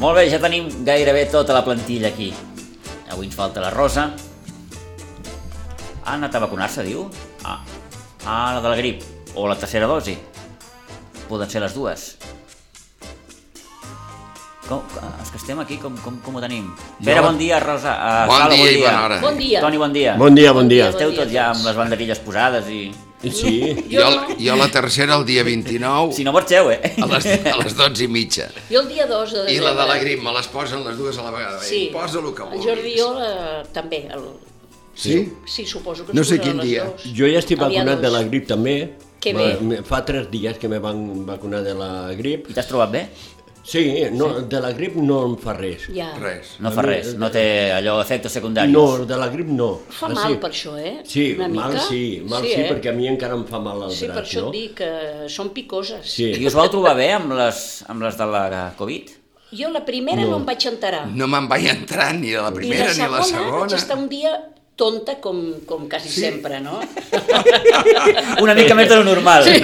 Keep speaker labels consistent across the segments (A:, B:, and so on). A: Molt bé, ja tenim gairebé tota la plantilla aquí. Avui ens falta la Rosa. Ha anat a vacunar-se, diu? Ah, ah, la de la grip. O la tercera dosi. Poden ser les dues. Com, els que estem aquí, com, com, com ho tenim? Pere, bon dia, Rosa. Uh,
B: Bon
A: Sala, bon
B: dia i
A: dia.
B: bona hora.
C: Bon dia.
A: Toni, bon dia.
D: Bon dia, bon dia.
A: Esteu
C: Bon dia
A: tots ja
C: a
A: amb les banderilles posades i...
D: Sí,
C: Jo,
B: Jo, jo la tercera el dia 29
A: Si no marxeu, eh?
B: a les, a les 12 i mitja.
C: jo el dia 2 de
B: I la de la
C: desembre.
B: grip me les posen les dues a la vegada.
C: Sí.
B: Eh, Posa el que
C: El
B: vulguis.
C: Jordi i jo eh, també. El...
B: Sí?
C: Sí, suposo que
B: No
C: ens
B: sé quin
C: posaran les
B: dia.
C: dues.
D: jo ja estic
C: El dia
D: vacunat
C: dos.
D: de la grip també.
C: Que
D: Va-
C: bé.
D: me- Fa tres dies que me van vacunar de la grip.
A: I t'has trobat bé?
D: Sí, no, de la grip no em fa res.
C: Ja.
B: Res.
A: No fa res, no té allò efectes secundaris.
D: eh, No, de la grip no.
C: Fa
D: Ah,
C: mal per això, eh?
D: Sí,
C: Una
D: mal
C: mica?
D: sí, mal sí,
C: eh?
D: perquè a mi encara em fa mal el
C: Sí,
D: braç,
C: per això
D: no?
C: et dic que són picoses.
A: I
D: Sí,
A: us vau trobar bé amb les, amb les de la Covid?
C: Jo la primera no, em vaig enterar.
B: No me'n vaig entrar ni a la
C: I eh?
B: primera ni a la
C: vaig estar
B: segona.
C: un dia tonta com, com quasi sí. sempre, no?
A: Una mica més de lo normal. Sí.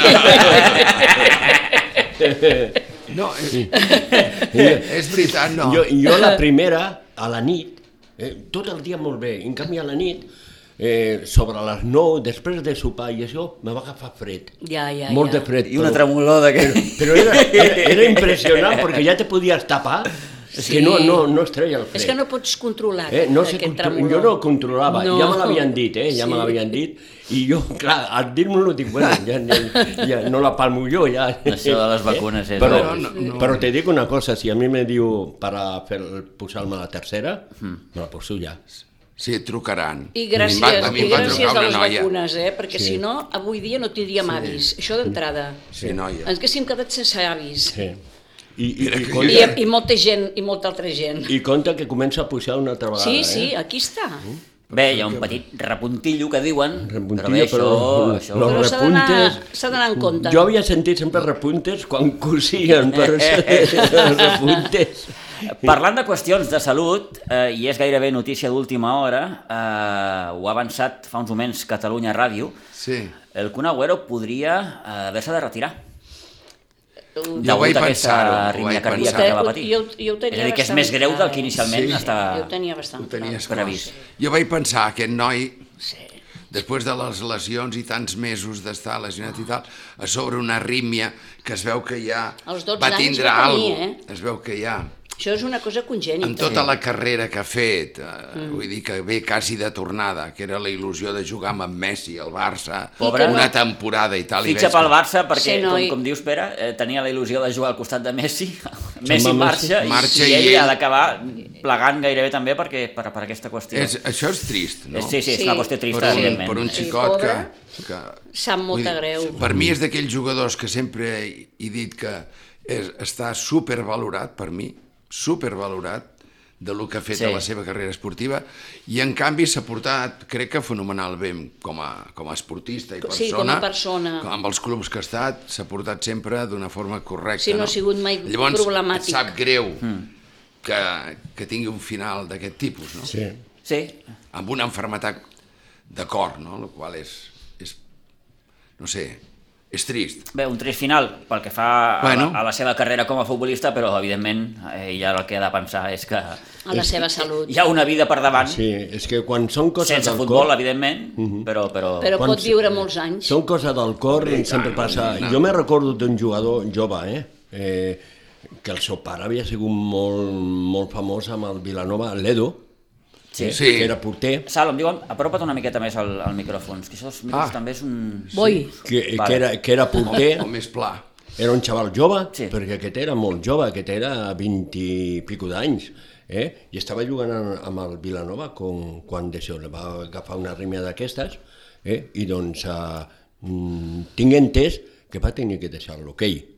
B: No, és,
D: Jo-
B: és veritat, no.
D: Jo, jo la primera, a la nit, eh, tot el dia molt bé, en canvi a la nit, eh, sobre les 9, després de sopar i això, me va agafar fred.
C: Ja, ja,
D: molt
C: ja.
D: de fred.
A: I una
D: però-
A: tremolor de que...
D: Però era, era, era impressionant perquè ja te podies tapar sí. que no, no, no es treia el fred.
C: És que no pots controlar
D: Eh, no sé,
C: aquest
D: contro-
C: tremolor.
D: jo no ho controlava, no. ja me l'havien dit, eh, ja sí. me
C: Sí.
D: l'havien dit, i jo, clar, al dir-me-lo dic, bueno, ja, ja, ja, no la palmo jo, ja.
A: Això de les vacunes és...
D: Però,
B: no,
D: no,
B: no.
D: no. però te dic una cosa, si a mi me diu per a fer posar-me la tercera,
A: Hmm.
D: me la poso ja.
B: Sí, trucaran.
C: I gràcies,
B: a mi em va, a mi
C: i
B: em va
C: gràcies
B: trucar
C: a
B: una
C: les
B: noia.
C: vacunes, eh? perquè sí. si no, avui dia no tindríem avis, això d'entrada.
B: Sí, noia.
C: Ens haguéssim quedat sense avis.
D: Sí. I, i, i,
C: I,
D: compte,
C: I molta gent, i molta altra gent.
D: I compte que comença a pujar una altra vegada.
C: Sí, sí,
D: Eh?
C: aquí està.
A: Bé, hi ha un petit repuntillo que diuen, però bé,
D: Repuntillo,
A: això...
D: però-
A: això...
D: no.
C: Però s'ha d'anar-
D: repuntes-
C: s'ha d'anar en compte.
D: Jo havia sentit sempre repuntes quan cosien, però repuntes...
A: Parlant de qüestions de salut, eh, i és gairebé notícia d'última hora, eh, ho ha avançat fa uns moments Catalunya Ràdio,
B: Sí.
A: el Kun Agüero podria eh, haver-se de retirar.
B: Jo ho
A: Degut
B: vaig
A: a aquesta
B: pensar, ho
A: arritmia
B: vaig
A: cardíaca
B: pensar.
A: que va patir.
C: Jo- jo ho tenia
A: és a dir, que és
C: bastant
A: més greu
C: clar,
A: del que inicialment
B: Sí.
A: està...
C: Jo ho tenia bastant
B: Ho tenies
A: clar.
B: clar.
A: Previst.
B: Jo vaig pensar, aquest noi,
C: Sí.
B: després de les lesions i tants mesos d'estar lesionat i tal, a sobre una arrítmia que es veu que ja
C: Als 12
B: va
C: anys
B: tindre
C: va tenir,
B: alguna
C: eh?
B: Es veu que ja...
C: Això és una cosa congènita.
B: Amb tota la carrera que ha fet, eh,
C: Mm.
B: vull dir que ve quasi de tornada, que era la il·lusió de jugar amb en Messi al Barça,
A: Pobre.
B: una temporada i tal. i
A: Fitxa
B: veig
A: pel Barça perquè,
C: Sí,
A: sí, com,
C: noi.
A: com dius Pere, eh, tenia la il·lusió de jugar al costat de Messi. Messi
D: home,
A: marxa,
B: Marxa
A: i, i
B: i
A: ell,
B: ell-
A: ha d'acabar plegant gairebé també perquè, per, per aquesta
B: que-
A: qüestió.
B: És, això és trist, no?
A: Eh, Sí, sí, és
C: Sí.
A: una qüestió trista,
B: per un,
A: evidentment.
B: per un
C: Sí,
B: xicot que,
C: pobre.
B: que...
C: Sap
B: vull
C: molta greu.
B: Per mi és d'aquells jugadors que sempre he, he dit que és, està supervalorat, per mi, supervalorat, de lo que ha fet
A: Sí.
B: sí. a la seva carrera esportiva, i en canvi s'ha portat, crec que fenomenal bé com a, com a esportista i persona.
C: Sí, com a persona.
B: Amb els clubs que ha estat, s'ha portat sempre d'una forma correcta.
C: Sí, no ha sigut mai
B: Llavors,
C: problemàtic.
B: et sap greu mm. que, que tingui un final d'aquest tipus, no?
D: Sí.
A: Sí,
B: amb una enfermetat de cor, no? El qual és, és no sé, és trist.
A: bé, un trist final pel que fa bueno.
B: Bueno.
A: a, la, a la seva carrera com a futbolista, però evidentment eh, ella el que ha de pensar és que
C: A la seva salut.
A: hi ha una vida per davant, sí,
D: Sí, és que quan són coses
A: sense
D: del
A: futbol,
D: cor...
A: evidentment,
B: Mhm.
A: però... però...
C: Però
D: Quan
C: pot
D: se-
C: viure molts anys.
D: Són coses del cor i
B: tant,
D: sempre passa...
B: no.
D: Jo me recordo d'un jugador jove, eh? eh? que el seu pare havia sigut molt, molt famós amb el Vilanova, l'Edo,
A: Sí.
D: eh?
B: Sí.
D: que era porter,
A: Sal, em diuen, apropa't una miqueta més al, al micròfon, és que això dels micros
B: Ah.
A: també és un...
C: Boi,
D: que,
A: Vale.
D: que, era, que era porter,
B: O més pla.
D: era un xaval jove,
A: Sí.
D: sí. perquè aquest era molt jove, aquest era 20 i pico d'anys, eh? i estava jugant amb, amb el Vilanova com, quan d'això li va agafar una rima d'aquestes, eh? i doncs eh, mm, tinc entès que va tenir que deixar l'hoquei.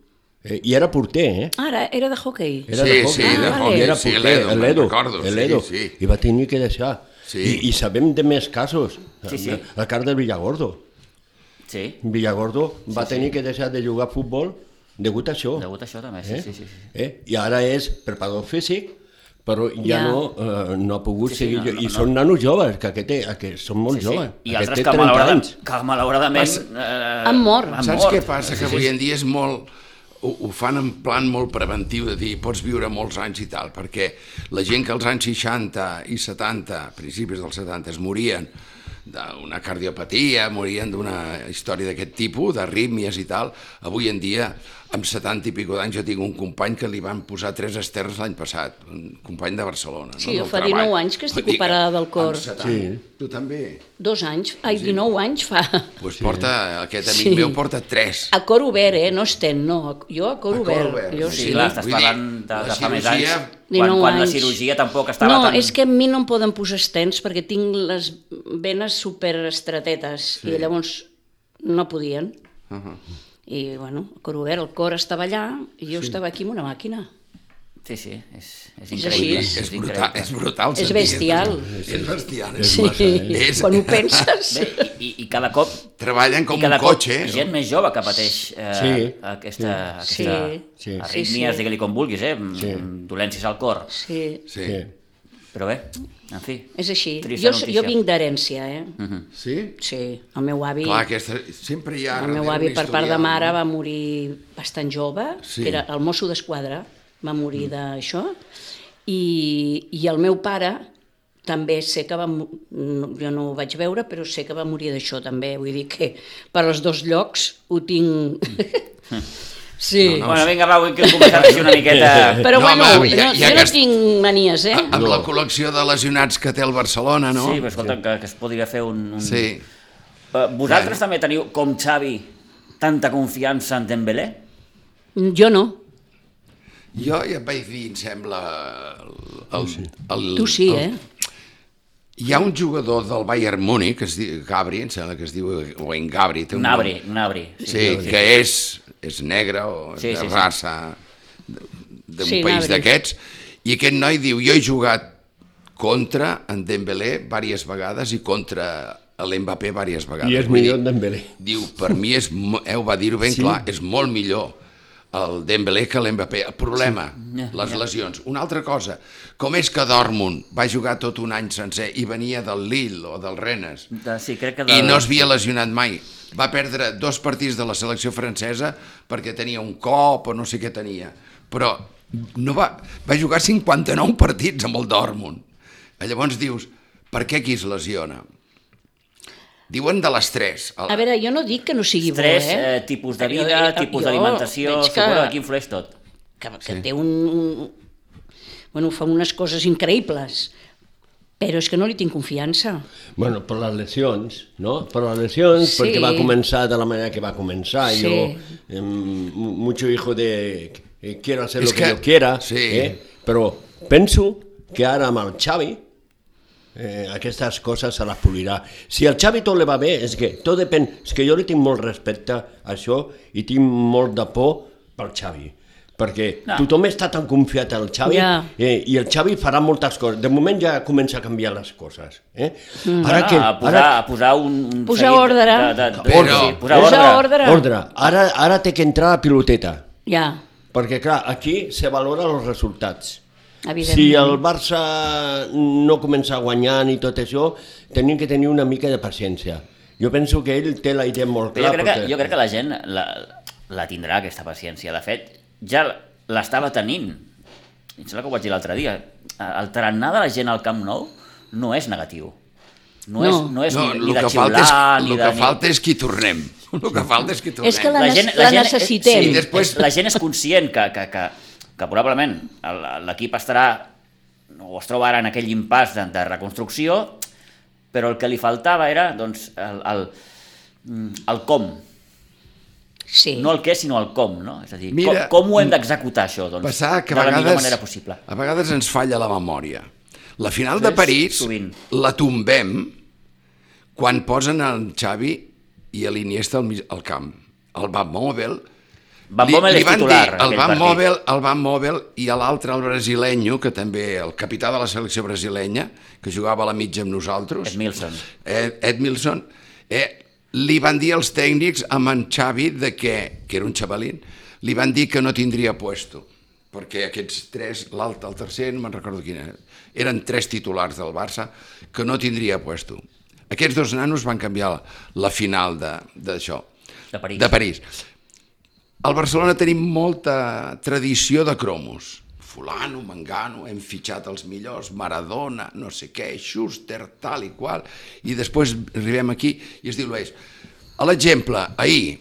D: Eh, I era porter, eh?
C: Ara, era de hoquei.
D: Era
B: Sí,
D: de hockey.
B: sí,
C: de
D: I
C: hockey,
D: era
B: sí,
D: porter,
B: l'Edo, me'n
D: l'Edo,
B: recordo, sí,
D: l'Edo.
B: sí.
D: I va tenir que deixar.
B: Sí.
D: I, I sabem de més casos.
A: Sí, sí.
D: El cas del Villagordo.
A: Sí,
D: Villagordo va tenir que deixar de jugar a futbol degut a això.
A: degut a això també, sí, sí, sí. sí.
D: Eh? I ara és preparador físic, però ja,
C: Ja.
D: no, eh, no ha pogut
A: Sí, sí,
D: sí, seguir.
A: no,
D: No,
A: no,
D: I
A: no.
D: són nanos joves, que aquest, té- aquest són molt
A: Sí, sí.
D: joves.
A: I
D: aquest
A: altres
D: té
A: que,
D: 30
A: malaurada,
D: anys.
A: que malauradament... Eh,
C: Han mort.
A: Han
B: Saps
A: mort.
B: què passa? Que avui en dia és molt... Ho, ho fan en plan molt preventiu, de dir, pots viure molts anys i tal, perquè la gent que als anys 60 i 70, a principis dels 70, es morien d'una cardiopatia, morien d'una història d'aquest tipus, d'arrítmies i tal, avui en dia, amb 70 i pico d'anys, jo tinc un company que li van posar tres esters l'any passat, un company de Barcelona.
C: Sí,
B: no?
C: jo
B: Del
C: fa
B: treball.
C: 19 anys que estic
B: Vull dir
C: operada del cor.
B: Amb 70. Sí. Tu també?
C: Dos anys, ai, 19 anys fa.
B: Pues porta, aquest amic
C: Sí.
B: meu porta tres.
C: A cor obert, eh? No estem, no. a- Jo a
B: A
C: cor
B: cor
C: obert.
B: obert,
C: Jo
A: Sí,
B: Sí,
C: sí.
A: clar, estàs
B: vull
A: parlant
B: dir,
A: de, de
B: la
A: fa més anys,
B: cirurgia-
A: quan,
C: 19
A: quan la
C: anys.
A: cirurgia tampoc estava
C: no,
A: tan...
C: és que a mi no em poden posar estens perquè tinc les venes superestratetes sí. i llavors no podien. Uh
A: Uh-huh.
C: -huh. I, bueno, a cor obert, el cor estava allà i jo sí. estava aquí amb una màquina.
A: Sí, sí, és, és
C: És així.
A: increïble.
B: És brutal,
A: increïble.
B: és brutal.
C: És
B: sentir
C: bestial.
B: aquestes- És bestial. És
C: Sí,
B: massa, eh? és,
C: quan ho penses.
A: Bé, i, i cada cop...
B: Treballen
A: i
B: com un
A: cada cop
B: cotxe. eh?
A: gent més jove que pateix eh, sí,
D: Sí,
A: aquesta,
C: sí.
A: aquesta
D: Sí, sí.
A: arrítmies,
C: Sí, sí.
A: digue-li com vulguis, eh? Sí.
D: Sí.
A: dolències al cor.
C: Sí,
B: Sí.
D: Sí.
A: Però bé, en fi.
C: és així.
A: Trista
C: Jo,
A: notícia. Uh-huh.
C: jo vinc d'herència, eh? Uh -huh.
B: sí?
C: Sí, el meu avi...
B: Clar, aquesta... Sempre hi ha...
C: El meu
B: darrere
C: avi
B: un
C: per part de
B: historial,
C: mare
B: no?
C: va morir bastant jove,
B: Sí.
C: sí. que era el mosso d'esquadra, va morir d'això, i, i el meu pare també sé que va... mo- No, jo no ho vaig veure, però sé que va morir d'això també, vull dir que per als dos llocs ho tinc... sí, no, no.
A: Bueno, vinga, va, vull que començar així una miqueta...
C: però
B: No,
C: bueno,
B: home, ja-
C: no,
B: ja
C: jo
B: que
C: no
B: es-
C: tinc manies, eh?
B: Amb la col·lecció de lesionats que té el Barcelona, no?
A: Sí, però escolta, que, que es podria fer un... un...
B: Sí.
A: Eh, Vosaltres
B: Clar.
A: també teniu, com Xavi, tanta confiança en Dembélé?
C: Mm, Jo no.
B: Jo ja et vaig dir, em sembla... El, el, el,
C: Tu sí, eh?
B: Hi ha un jugador del Bayern Múnich, que es diu Gabri, em sembla que es diu, o en Gabri. Té un nom.
A: Nabri, Nabri.
B: Sí, que és, és negre o
A: Sí,
B: sí,
A: sí,
B: de
A: sí.
B: raça d- d'un
C: Sí,
B: sí, país
C: Nabri.
B: d'aquests, i aquest noi diu, jo he jugat contra en Dembélé diverses vegades i contra l'Mbappé diverses vegades.
D: I és
B: Vull dir,
D: millor en Dembélé.
B: Diu, per mi és, mo- eh, ho va dir ben sí. clar, és molt millor el Dembélé que l'Mbappé. El problema, sí.
A: Ja,
B: les lesions. Una altra cosa, com és que Dortmund va jugar tot un any sencer i venia del Lille o del Rennes
A: De, sí, crec que de...
B: i no es havia lesionat mai. Va perdre dos partits de la selecció francesa perquè tenia un cop o no sé què tenia. Però no va, va jugar 59 partits amb el Dortmund. Eh, Llavors dius, per què qui es lesiona? Diuen de les 3.
C: A veure, jo no dic que no sigui
A: Tres
C: bo, eh?
A: eh, tipus de
C: Jo-
A: vida,
C: jo-
A: tipus
C: jo
A: d'alimentació, que...
C: veig
A: suposo que aquí influeix tot.
C: que, que té un, un... Bueno, fa unes coses increïbles, però és que no li tinc confiança.
D: Bueno, per les lesions, no? Per les lesions,
C: Sí.
D: perquè va començar de la manera que va començar.
C: Sí.
D: Sí. Jo, em, mu- mucho hijo de... eh, Quiero hacer
B: És
D: lo que,
B: que-
D: yo quiera.
B: sí.
D: Eh? Però penso que ara amb el Xavi eh, aquestes coses se les polirà. Si al Xavi tot li va bé, és que tot depèn... És que jo li tinc molt respecte a això i tinc molt de por pel Xavi. Perquè
A: No.
D: no. tothom està tan confiat al Xavi
C: Ja.
D: eh, i el Xavi farà moltes coses. De moment ja comença a canviar les coses. Eh? Mm. Ara
A: Ah,
D: que,
A: a posar,
D: ara,
A: a posar un... un
C: Posar
A: seguit
C: ordre.
A: De, de, de,
B: Ordre.
A: sí, posar
C: Posar
A: ordre.
C: ordre.
D: ordre. Ara, ara té que entrar la piloteta.
C: Ja,
D: Perquè, clar, aquí se valora els resultats. Si
C: evidentment.
D: el Barça no comença guanyant i tot això, tenim que tenir una mica de paciència. Jo penso que ell té la idea molt
A: Però
D: clara.
A: jo crec, que,
D: perquè-
A: jo crec que la gent la, la tindrà, aquesta paciència. De fet, ja l'estava tenint. Em sembla que ho vaig dir l'altre dia. El tarannà de la gent al Camp Nou no és negatiu. No,
C: No.
A: és, no és
B: No,
A: ni,
B: el
A: ni de
B: que, falta
A: xiular,
B: és,
A: ni
B: el
A: de...
B: que
A: ni-
B: falta és qui tornem. El que falta és qui tornem.
C: És que la,
A: la
C: la,
A: gent,
C: la,
A: gent-
C: necessitem.
A: Sí,
B: I
A: després...
B: després-
A: La gent és conscient que, que, que, que probablement el- l'equip estarà o es troba ara en aquell impàs de, de reconstrucció, però el que li faltava era doncs, el, el, mm, el com,
C: sí.
A: no el què, sinó el com, no? És a dir,
B: Mira, mm,
A: com, com ho hem d'executar, això? Doncs,
B: Passar que
A: de
B: a
A: la millor
B: vegades,
A: manera possible.
B: a vegades ens falla la memòria. La final de
A: Sí,
B: París
A: sovint.
B: la tombem quan posen el Xavi i l'Iniesta al, mig- al camp. El Van Mobel
A: Van Bommel és
B: van
A: titular.
B: dir el
A: aquell
B: Van
A: partit.
B: Mobel, el Van Mobel i a l'altre el brasilenyo, que també el capità de la selecció brasilenya, que jugava a la mitja amb nosaltres.
A: Edmilson.
B: Eh, Edmilson. Eh, li van dir als tècnics amb en Xavi de que, que era un xavalín, li van dir que no tindria puesto perquè aquests tres, l'alt, el tercer, no me'n recordo quin era, eren tres titulars del Barça, que no tindria puesto. Aquests dos nanos van canviar la, la final de- d'això.
A: De París.
B: De París. Al Barcelona tenim molta tradició de cromos. Fulano, Mangano, hem fitxat els millors, Maradona, no sé què, Schuster, tal i qual, i després arribem aquí i es diu l'Eix. A l'exemple, ahir,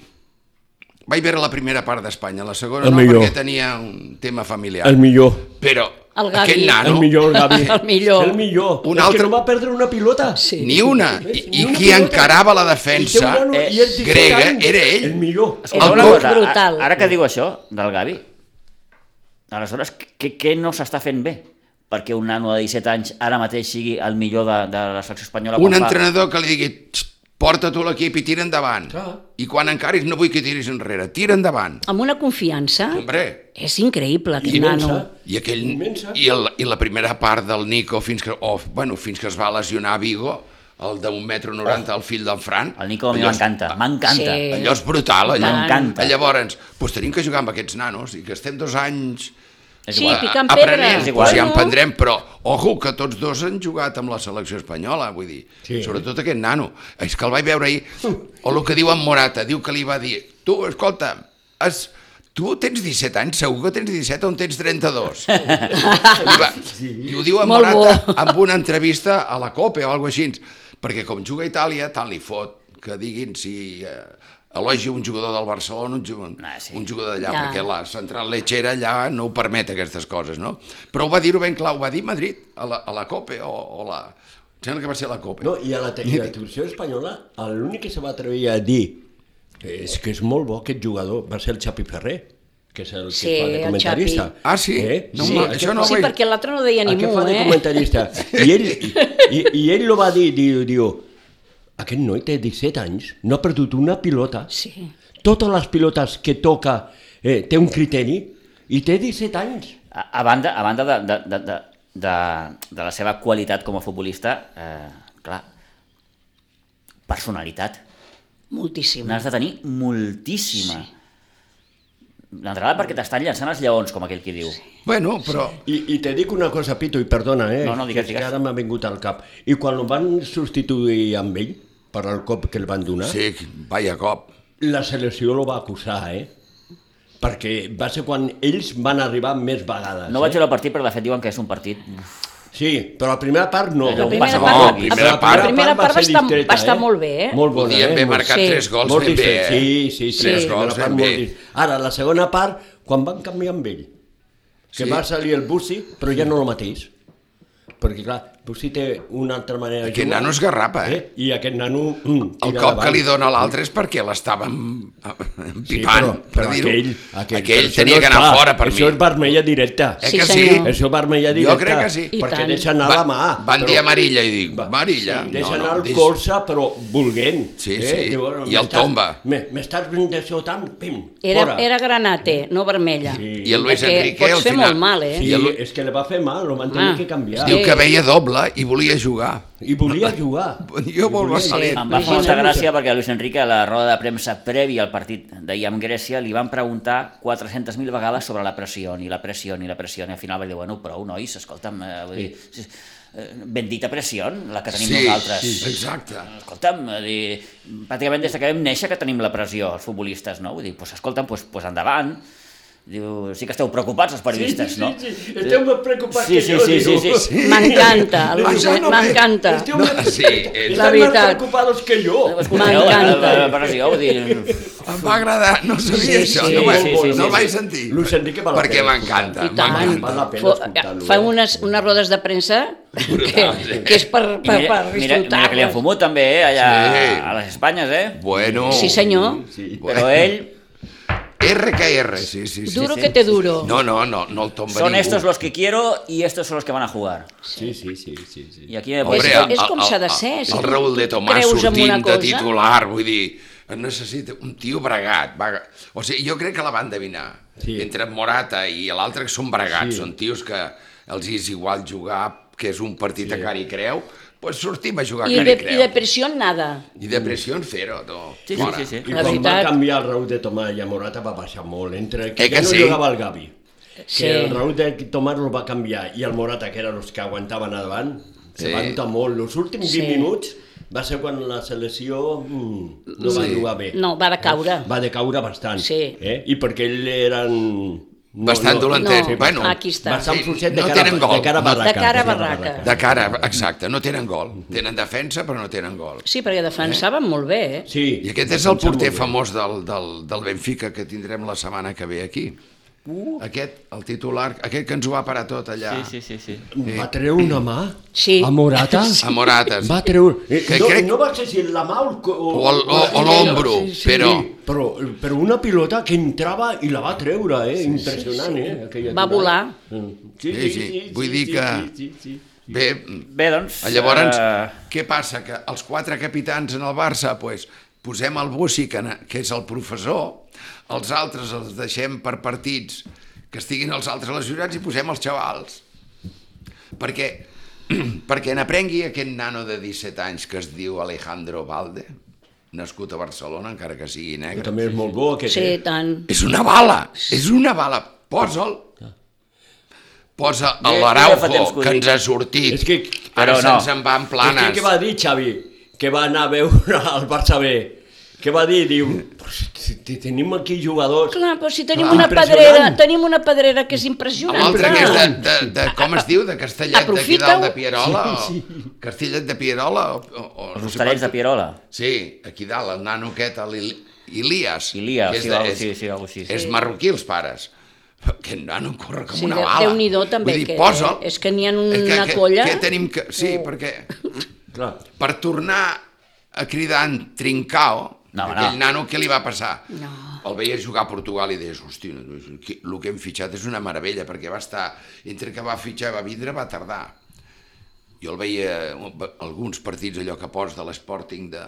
B: vaig veure la primera part d'Espanya, la segona
D: El
B: no,
D: millor.
B: perquè tenia un tema familiar.
D: El millor.
B: Però
C: El Gavi.
B: aquest
D: El
B: nano,
D: millor, el Gavi.
C: El millor.
D: El millor.
B: Ah, Un
D: Un és
B: altre-
D: que no va perdre una pilota.
C: Sí.
B: ni una, i,
D: Ni
B: i
D: una
B: qui
D: pilota.
B: encarava la
D: El seu
B: defensa
D: nano,
A: eh,
D: i el 17
B: grega
D: anys,
B: era ell.
D: El millor.
A: Escolta,
B: El
A: una
B: gol-
A: cosa,
C: Brutal.
A: a- ara que diu això del Gavi, aleshores, què, què no s'està fent bé? perquè un nano de 17 anys ara mateix sigui el millor de, de la selecció espanyola.
B: un
A: quan fa-
B: entrenador que li digui "Txt, porta tu l'equip i tira endavant.
D: Clar.
B: I quan encaris no vull que tiris enrere, tira endavant.
C: Amb una confiança...
B: Hombre,
C: És increïble, aquest
D: Immensa.
C: nano.
B: i, aquell,
D: Immensa.
B: i, el, i la primera part del Nico fins que, oh, bueno, fins que es va lesionar a Vigo, el d'un metro noranta, el fill del Fran.
A: El Nico a mi
B: Allò és- eh,
A: m'encanta, m'encanta.
C: Sí.
B: Allò és brutal, allò.
A: M'encanta.
B: Llavors, doncs tenim que jugar amb aquests nanos i que estem dos anys
A: És
C: Sí,
A: igual.
C: pica- Picant
B: aprenent,
C: pedra.
A: És
B: Doncs
A: igual.
B: ja en
C: No.
B: prendrem, però ojo que tots dos han jugat amb la selecció espanyola, vull dir, sí.
D: Sí.
B: sobretot aquest nano. És que el vaig veure ahir, o el que diu en Morata, diu que li va dir, tu, escolta, has, tu tens 17 anys, segur que tens 17 on tens 32. I, va, I ho diu en
C: Molt
B: Morata
C: bo.
B: amb una entrevista a la COPE o alguna així, perquè com juga a Itàlia, tant li fot que diguin si... Eh, elogi un jugador del Barcelona, un jugador,
A: Ah, sí.
B: un jugador d'allà,
C: Ja.
B: perquè la central lechera allà no ho permet aquestes coses, no? Però ho va dir-ho ben clar, ho va dir Madrid, a la, a la COPE o, o la... Em sembla que va ser la COPE.
D: No, i a la, te- i a la televisió espanyola l'únic que se va atrevir a dir és que és molt bo aquest jugador va ser el Xapi Ferrer que és el
C: Sí,
D: que fa de
C: el
D: comentarista. Eh?
C: Xapi.
B: Ah, sí? No,
D: sí,
B: home,
D: aquest
B: això no
D: fa-
C: sí,
B: vaig-
C: perquè l'altre no deia ni
D: aquest
C: mu,
D: fa de
C: eh?
D: comentarista. I ell, i, i ell lo va dir, diu, diu, aquest noi té 17 anys, no ha perdut una pilota,
C: Sí.
D: totes les pilotes que toca eh, té un criteri i té 17 anys.
A: A, a banda, a banda de, de, de, de, de, de la seva qualitat com a futbolista, eh, clar, personalitat.
C: Moltíssim.
A: N'has de tenir moltíssima. D'entrada perquè t'estan llançant els lleons, com aquell qui diu.
B: Bueno, però...
D: I, I te dic una cosa, Pito, i perdona, eh?
A: No, no, digues,
D: que és
A: digues.
D: que ara m'ha vingut al cap. I quan el van substituir amb ell, per al cop que el van donar,
B: Sí, vaya cop.
D: la selecció lo va acusar, eh? Perquè va ser quan ells van arribar més vegades.
A: No
D: eh?
A: vaig veure el partit, però de fet diuen que és un partit...
D: Sí, però la primera part no.
A: La
C: primera
A: No,
C: part-
A: primera part.
C: la primera part va
D: ser
C: estar-
D: discreta,
C: va estar molt bé, eh?
D: Molt bona,
B: Podien
D: eh?
B: haver
D: Molt-
B: marcat
C: sí.
B: tres gols
D: molt
B: ben bé,
D: discret,
B: eh?
D: Sí, sí, sí.
B: Tres
D: la primera
B: gols
D: part
B: ben
D: molt
B: bé.
D: dis- Ara, la segona part, quan van canviar amb ell, que
B: Sí.
D: va salir el Bussi, però ja no el mateix. Perquè, clar, Bussi té una altra manera de
B: Aquest
D: jugar.
B: nano es garrapa, eh?
D: I aquest nano... Mm,
B: El
D: tira
B: cop que
D: davant.
B: li dona a l'altre és perquè l'estàvem
D: Sí,
B: pipant,
D: però, però
B: per dir-ho.
D: aquell,
B: aquell,
D: però
B: aquell
D: això
B: tenia
D: no
B: que
D: és
B: anar
D: clar,
B: fora per
D: això
B: mi.
D: Això és vermella directa.
B: Eh
C: Sí,
B: que sí?
C: senyor.
D: Això és vermella
B: Jo
D: directa.
B: crec que sí.
C: I
D: perquè
C: tant.
D: deixa anar
B: Va-
D: la mà.
B: Van
D: però-
B: dir amarilla i dic, amarilla.
D: Sí, deixa anar el
B: deix-
D: colze, però volguent. eh?
B: Sí, sí,
D: bueno,
B: i el
D: m'estàs-
B: tomba.
D: m'he- M'estàs desxotant, pim,
C: Era,
D: fora.
C: era granate, no vermella.
D: Sí.
B: I el Luis
C: Perquè
B: Enrique
C: pots
B: al
C: fer
B: final...
C: molt mal, eh?
D: Sí,
B: I el,
D: és que li va fer mal, ho van tenir
C: Ah,
D: que canviar.
C: sí.
B: Diu que veia doble i volia jugar.
D: I volia jugar.
B: Jo vol
D: volia-
B: salir.
A: Em va fer molta gràcia perquè a Luis Enrique, a la roda de premsa prèvia al partit d'ahir amb Grècia, li van preguntar 400.000 vegades sobre la pressió, i la pressió, i la pressió, i al final va dir, bueno, prou, nois, escolta'm, eh, vull dir, sí, eh, bendita pressió, la que tenim nosaltres.
B: exacte.
A: Escolta'm, vull dir, pràcticament des que vam néixer que tenim la pressió, els futbolistes, no? Vull dir, pues, escolta'm, pues, pues endavant. Diu, sí que esteu preocupats, els periodistes,
D: sí,
A: no?
D: sí, sí. Esteu més preocupats
A: Sí,
D: que
A: sí,
D: jo,
A: sí,
D: diu.
A: sí, sí, sí.
C: M'encanta, el
B: Això
C: Luis,
A: eh?
B: no ve.
C: m'encanta.
D: Esteu
B: No,
D: més-
B: sí, és-
D: esteu
C: La
D: més
C: veritat.
D: preocupats que jo.
A: Escolteu, eh,
C: M'encanta.
A: la- la pressió, vull dir,
B: Em va agradar, no sabia
C: Sí,
B: això,
A: sí,
B: no, ho vaig-
A: sí, sí,
B: no
A: sí,
B: el vaig
D: sí.
B: sentir.
D: Luis Enrique val la
B: Perquè
D: pena
B: m'encanta,
C: I tant.
D: Val
B: m'encanta.
D: la pena
C: Fo-
D: escoltar-lo,
C: Fa
D: eh?
C: unes, unes rodes de premsa que,
B: Brutals,
C: que és per,
A: I
C: per, per
A: mira, mira,
C: disfrutar.
A: mira que li han fumut també, eh, allà
B: Sí.
A: a les Espanyes, eh?
B: Bueno,
C: Sí, senyor.
D: Sí.
A: Però ell
B: R que R, sí, sí, sí.
C: Duro que te duro.
B: No, no, no, no el tomba
A: Son
B: ningú.
A: estos los que quiero y estos son los que van a jugar.
D: Sí, sí, sí, sí. sí.
A: Y aquí me
C: Hombre,
A: pones...
C: és- és com
B: el-
C: s'ha de
B: el-
C: ser, si
B: El
C: tu
B: Raül de Tomàs
C: creus en una
B: sortint de
C: cosa.
B: titular, vull dir, necessita un tio bregat. Va. O sigui, jo crec que la van endevinar.
D: Sí.
B: Sí. Entre en Morata i l'altre que són bregats,
D: Sí.
B: sí. són tios que els hi és igual jugar, que és un partit sí. a cara i creu, doncs sortim a jugar
C: I
B: a cara
C: de,
B: i
C: i
B: creu.
C: de pressió nada.
B: I depressió zero, tu.
A: Sí, sí,
B: Fora.
A: sí, sí.
D: I
C: La
D: quan
C: veritat-
D: va canviar el Raúl de Tomàs i a Morata va baixar molt, entre que,
B: Eh
D: ja
B: que
D: no
B: sí?
D: jugava el Gavi,
C: Sí.
D: que el Raúl de Tomàs el va canviar i el Morata, que eren els que aguantaven davant, se
B: Sí.
D: van notar molt. Els últims
C: Sí.
D: 20 minuts va ser quan la selecció mm, no va
B: Sí.
D: jugar bé.
C: No, va
B: eh?
C: decaure.
D: Va decaure bastant.
C: Sí.
D: Eh? I perquè ell eren... No,
B: Bastant dolentets.
C: No,
B: bueno,
C: aquí està.
D: Bastant
B: Sí,
D: fluixet de,
B: no
D: cara,
B: tenen gol.
D: de cara a
B: No-
D: barraca.
C: De cara a barraca.
B: De cara, exacte, no tenen gol. Tenen defensa, però no tenen gol.
C: Sí, perquè defensaven molt bé, eh?
D: Sí.
B: I aquest és el
D: Defensa Doncs molt
B: porter
D: bé.
B: famós del, del, del Benfica que tindrem la setmana que ve aquí. Uh. Aquest, el titular, aquest que ens ho va parar tot allà.
A: Sí, sí, sí, sí.
D: Eh, Va treure una mà
C: Sí.
D: a Morata?
B: A Morates.
D: Va treure... Eh,
B: Que
D: no,
B: crec-
D: no va ser si la mà o... el co- O,
B: O el- o- o l'ombro, però-
D: però... Però una pilota que entrava i la va treure, eh? Impressionant, eh? Aquella
C: Va
D: aturada.
C: volar.
D: Sí,
B: Sí, sí. Vull dir que-
D: Sí, sí, sí.
B: Bé,
A: Bé, doncs...
B: Ah, llavors,
A: eh,
B: uh... què passa? Que els quatre capitans en el Barça, pues, posem el Bussi, que, na- que és el professor, els altres els deixem per partits que estiguin els altres lesionats i posem els xavals. Perquè, perquè n'aprengui aquest nano de 17 anys que es diu Alejandro Valde, nascut a Barcelona, encara que sigui
D: Que
B: negre.
D: També és molt bo aquest.
C: Sí,
D: eh?
C: tant.
B: És una bala, és una bala. Posa'l. Posa
A: Jo- jo ja fa temps que ho
B: l'Araujo, que
A: dic.
B: ens ha sortit.
D: És que...
B: Ara
A: Però no.
B: se'ns en van planes.
D: És que què va dir, Xavi? Que va anar a veure el Barça B. Què va dir? Diu, "Pues, si- si tenim aquí jugadors...
C: Clar, però si tenim
B: Ah,
D: Clar.
C: una
D: Impressionant.
C: pedrera, tenim una pedrera que és
B: Amb
C: impressionant.
B: l'altre que és de,
C: clar.
B: de, de, com es diu, de Castellet d'aquí
C: Aprofita-ho.
B: dalt de Pierola, o Castellet de Pierola, o, o, o
A: Els hostalets de Pierola.
B: Sí, aquí dalt, el nano aquest, l'Ilias.
A: Ilia, sí, algo així, sí, algo així.
B: És marroquí, els pares. Però Aquest nano corre com
C: Sí,
B: una
C: de-
B: bala.
C: Déu-n'hi-do, també,
B: Vull dir,
C: que-
B: posa'l.
C: és que n'hi ha
B: Eh,
C: una
B: que,
C: colla.
B: Que, que tenim que... Sí, perquè
D: Clar.
B: per tornar a cridar en Trincao,
A: No,
B: no, aquell
A: no.
B: no. nano, què li va passar?
C: No.
B: El veia jugar a Portugal i deies, hosti, el que hem fitxat és una meravella, perquè va estar, entre que va fitxar i va vindre, va tardar. Jo el veia eh, alguns partits allò que pots de l'Sporting de,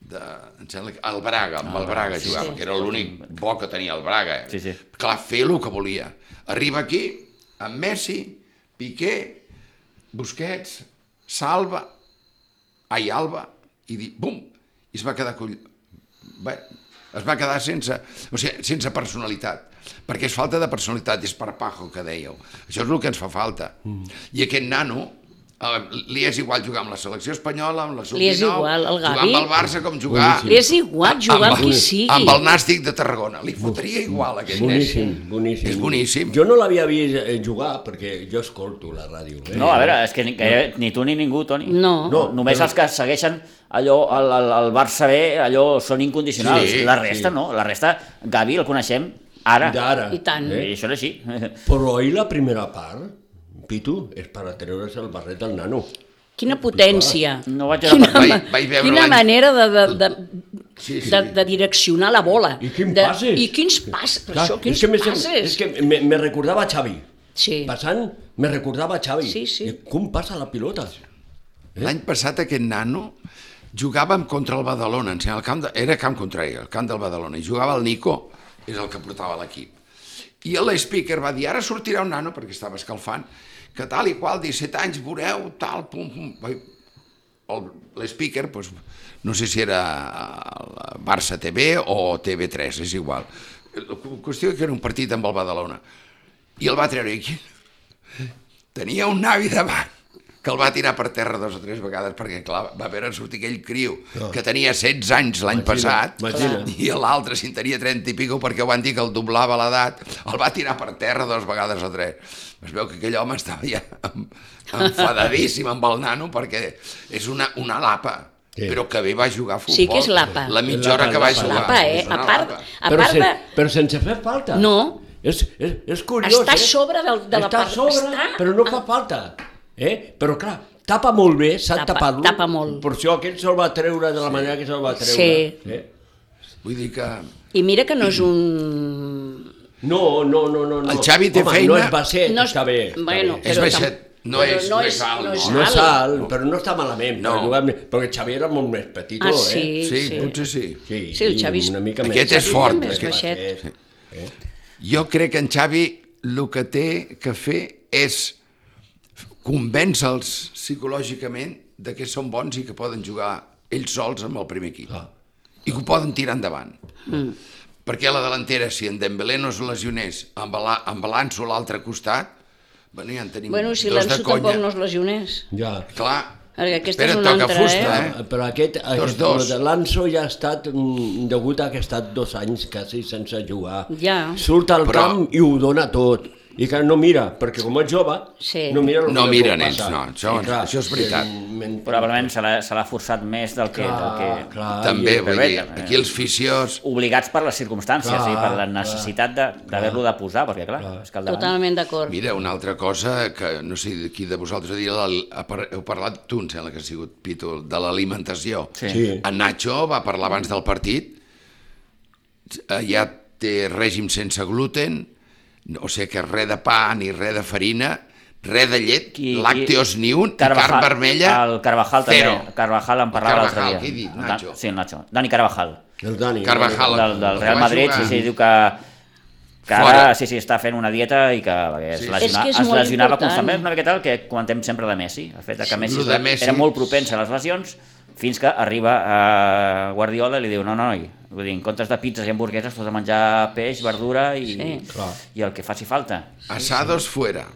B: de, em sembla que el Braga,
A: Ah,
B: amb el Braga jugava, que era l'únic bo que tenia el Braga. eh?
A: Sí, sí.
B: Clar, fer el que volia. Arriba aquí, amb Messi, Piqué, Busquets, Salva, Ai Alba, i di, bum, i es va quedar coll... Va, es va quedar sense, o sigui, sense personalitat, perquè és falta de personalitat, és parpajo que dèieu. Això és el que ens fa falta. Mm. I aquest nano, eh, li és igual jugar amb la selecció espanyola, amb la sub-19,
C: Li és igual, el
B: jugar
C: Gavi.
B: amb el Barça com jugar...
C: Li és igual jugar amb qui sigui.
B: Amb el Nàstic de Tarragona, li fotria igual aquest
D: Boníssim,
B: nen.
D: boníssim.
B: És boníssim.
D: Jo no l'havia vist eh, jugar perquè jo escolto la ràdio. Eh?
A: No, a veure, és que ni, que ni tu ni ningú, Toni.
C: No.
D: No,
A: Només
D: però-
A: els que segueixen allò, el, el, el Barça B, allò són incondicionals.
B: Sí,
A: la resta no, la resta, Gavi el coneixem ara.
D: D'ara.
C: I tant.
A: I
D: Eh?
A: això és així.
D: Però ahir la primera part, Pitu, és per a treure's el barret del nano.
C: Quina potència.
A: No vaig a...
C: Quina,
B: Vaig-
C: ma-
B: vaig veure
C: quina
B: l'any-
C: manera de, de, de,
B: Sí, sí.
C: de, de direccionar la bola.
D: I quin
C: de,
D: passes.
C: I quins passes. Però això, quins
D: és que me sem-
C: passes.
D: És que me, me recordava Xavi.
C: Sí.
D: Passant, me recordava Xavi.
C: Sí, sí.
D: I Com passa la pilota?
B: L'any passat aquest nano jugàvem contra el Badalona, en el camp de, era camp contrari, el camp del Badalona, i jugava el Nico, és el que portava l'equip. I l'speaker va dir, ara sortirà un nano, perquè estava escalfant, que tal i qual, 17 anys, veureu, tal, pum, pum. Vaig- el- L'speaker, doncs, no sé si era eh, Barça TV o TV3, és igual. La cu- qüestió que era un partit amb el Badalona. I el va treure aquí. Tenia un navi davant que el va tirar per terra dos o tres vegades perquè, clar, va veure sortir aquell criu que tenia 16 anys l'any passat
D: imagina.
B: i l'altre, si en tenia 30 i pico, perquè van dir que el doblava l'edat, el va tirar per terra dues vegades o tres. Es veu que aquell home estava ja em- enfadadíssim amb el nano perquè és una, una lapa,
D: Sí.
B: però que bé va jugar a futbol.
C: Sí que és lapa.
B: La mitja hora
D: Lapa,
B: que va
D: lapa.
B: jugar.
C: Lapa, eh?
B: és
C: A
B: una
C: part,
B: lapa.
C: a part de...
D: però sense fer falta.
C: No.
D: És, és, és curiós,
C: Està a
D: eh?
C: sobre del- de la
D: està a
C: part-
D: sobre,
C: està- Ah.
D: però no fa falta. Eh? Però clar, tapa molt bé, s'ha
C: Tapa-
D: tapat.
C: tapa molt.
D: Per això aquest se'l va treure de la manera que se'l va treure.
C: Sí.
D: Eh?
B: Vull dir que...
C: I mira que no és un...
D: No, no, no, no. no.
B: El Xavi té
D: Home,
B: feina-
D: No és basset,
C: No és-
D: està bé. Està
C: bueno,
D: bé.
B: És
C: Però
B: baixet,
C: tam-
B: no
C: però
B: és,
C: no
B: no
C: és-
B: és alt,
C: no és
D: No
C: alt.
D: és alt, però no està malament.
B: No.
D: No. Jugar, amb- perquè el Xavi era molt més petit.
C: Ah,
D: eh?
C: sí,
B: Sí,
C: sí.
B: potser sí.
D: sí.
C: Sí, el Xavi és-
D: Una mica més.
B: Aquest és
D: petit,
B: fort,
D: més
B: aquest.
D: baixet.
B: Jo crec que en Xavi el que té que fer és convèncer-los psicològicament de que són bons i que poden jugar ells sols amb el primer equip. Ah. I que ho poden tirar endavant. Mm. Perquè a la delantera, si en Dembélé no es lesionés amb, la, amb l'Anso a l'altre costat, bueno, ja en tenim
C: Bueno, si
B: dos de
C: l'Anso
B: conya.
C: tampoc no es lesionés.
D: Ja.
B: Clar,
C: Perquè aquesta
B: espera,
C: és una
B: toca
C: altra,
B: fusta,
C: eh?
B: eh?
D: Ah, Però aquest, aquest
B: dos.
D: el de L'Anso ja ha estat, mm, degut a que ha estat dos anys quasi sense jugar.
C: Ja.
D: Surt al
B: Però-
D: però... camp i ho dona tot. I que no mira, perquè com és jove,
C: Sí.
D: no mira el
B: No
D: que
B: miren
D: pot
B: ells,
D: passar.
B: no, això-
D: I eh,
B: això és veritat.
D: evidentment-
A: Probablement se l'ha se l'ha forçat més del que...
D: Clar,
A: del que...
D: clar,
B: També,
D: i-
A: però
B: vull
A: bé,
B: dir,
A: també.
B: aquí els fisiós...
A: Obligats per les circumstàncies
D: Clar,
A: i per la
D: clar,
A: necessitat de- d'haver-lo de, posar, perquè clar, és que al davant...
C: Totalment d'acord.
B: Mira, una altra cosa que no sé qui de vosaltres dia l'al- ha par- heu parlat tu, em sembla que ha sigut Pito, de l'alimentació.
D: Sí.
B: En Nacho va parlar abans del partit, eh, ja té règim sense gluten, no sé que res de pa ni res de farina, res de llet,
A: Qui- qui-
B: làcteos ni un, i
A: Carvajal-
B: carn vermella,
A: El Carvajal
B: zero.
A: també. Carvajal en parlava l'altre dia.
B: Carvajal, què he dit,
A: Dan-
B: Nacho?
A: Sí, el Nacho. Dani Carvajal,
D: El Dani. eh,
B: Carvajal.
A: del, del
B: que
A: Real
B: va
A: Madrid, sí,
B: jugar.
A: sí, diu que que
B: Fora.
A: ara sí, sí, està fent una dieta i que bé, es,
B: Sí.
A: lesiona,
C: És que és
A: es
C: molt
A: lesionava
C: important.
A: constantment, una miqueta el que comentem sempre de Messi, el fet de que Messi,
B: lo de Messi.
A: era molt propens a les lesions fins que arriba a Guardiola i li diu, no, no, noi, vull dir, en comptes de pizzas i hamburgueses fos a menjar peix, verdura i,
C: Sí.
D: Clar.
A: i el que faci falta.
B: Asados fuera.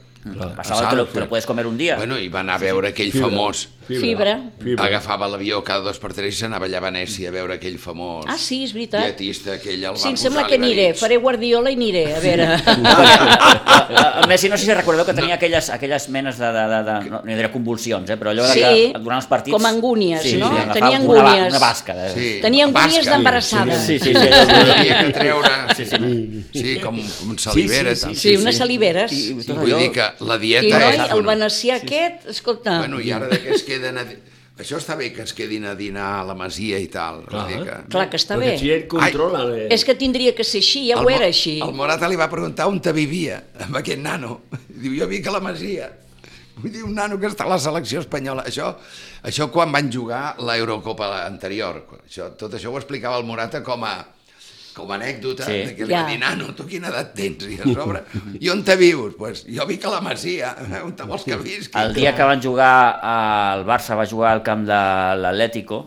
A: Passava que lo, te lo puedes comer un dia.
B: Bueno, i va anar a veure aquell famós...
C: Fibra.
B: Agafava l'avió cada dos per tres i s'anava allà a Venècia a veure aquell famós
C: Ah, sí, és veritat.
B: lletista, aquell el
C: Sí,
B: va
C: em sembla
B: posar,
C: que
B: li va dir,
C: aniré. Faré guardiola i aniré, a veure.
A: A- a Messi no sé si recordeu que tenia aquelles, aquelles menes de, de, de, de no, no diré convulsions, eh, però allò de
C: Sí,
A: que durant els partits...
C: com angúnies, no?
A: agafava una
C: Tenia
A: va-
C: angúnies.
A: Una basca. De...
B: Sí,
C: Tenia angúnies
B: basca.
C: d'embarassada.
A: Sí, sí,
B: Sí,
A: sí.
B: havia que treure... Sí, sí. sí com, com salivera. Sí,
D: Sí,
C: Sí, unes saliveres.
A: I- i tot
B: Vull
A: allò-
B: dir que la
C: I
B: dieta
C: noi,
B: és...
C: el venecià aquest, escolta...
B: Bueno, i ara de que es queden... A... di- Això està bé que es quedin a dinar a la Masia i tal. Clar. Dir que...
C: Clar que està bé.
D: Perquè si ell controla... eh, Ai.
C: És que tindria que ser així,
B: El
C: ja ho
B: Mo-
C: era així.
B: El Morata li va preguntar on te vivia, amb aquest nano. Diu, jo vinc a la Masia. Vull dir, un nano que està a la selecció espanyola. Això, això quan van jugar l'Eurocopa anterior. Això, tot això ho explicava el Morata com a, com a anècdota,
A: Sí.
B: sí. que li va
C: Ja.
B: dir, nano, tu quina edat tens? I, a sobre, I on te vius? Pues, jo vinc a la Masia, on te vols que visqui?
A: El dia que van jugar al Barça, va jugar al camp de l'Atlético,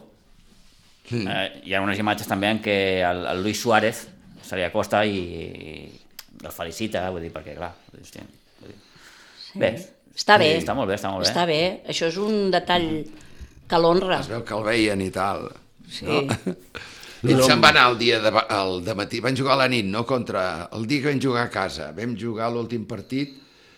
A: eh, hi ha unes imatges també en què el, el Luis Suárez se li acosta i, i el felicita, vull dir, perquè clar... Hòstia, vull dir. Bé,
C: Està bé.
A: Està molt bé, està molt bé.
C: Està bé. Això és un detall que l'honra.
B: Es veu que el veien i tal.
C: Sí.
B: Ells se'n van anar el dia de, el de matí, van jugar a la nit, no contra... El dia que vam jugar a casa, vam jugar l'últim partit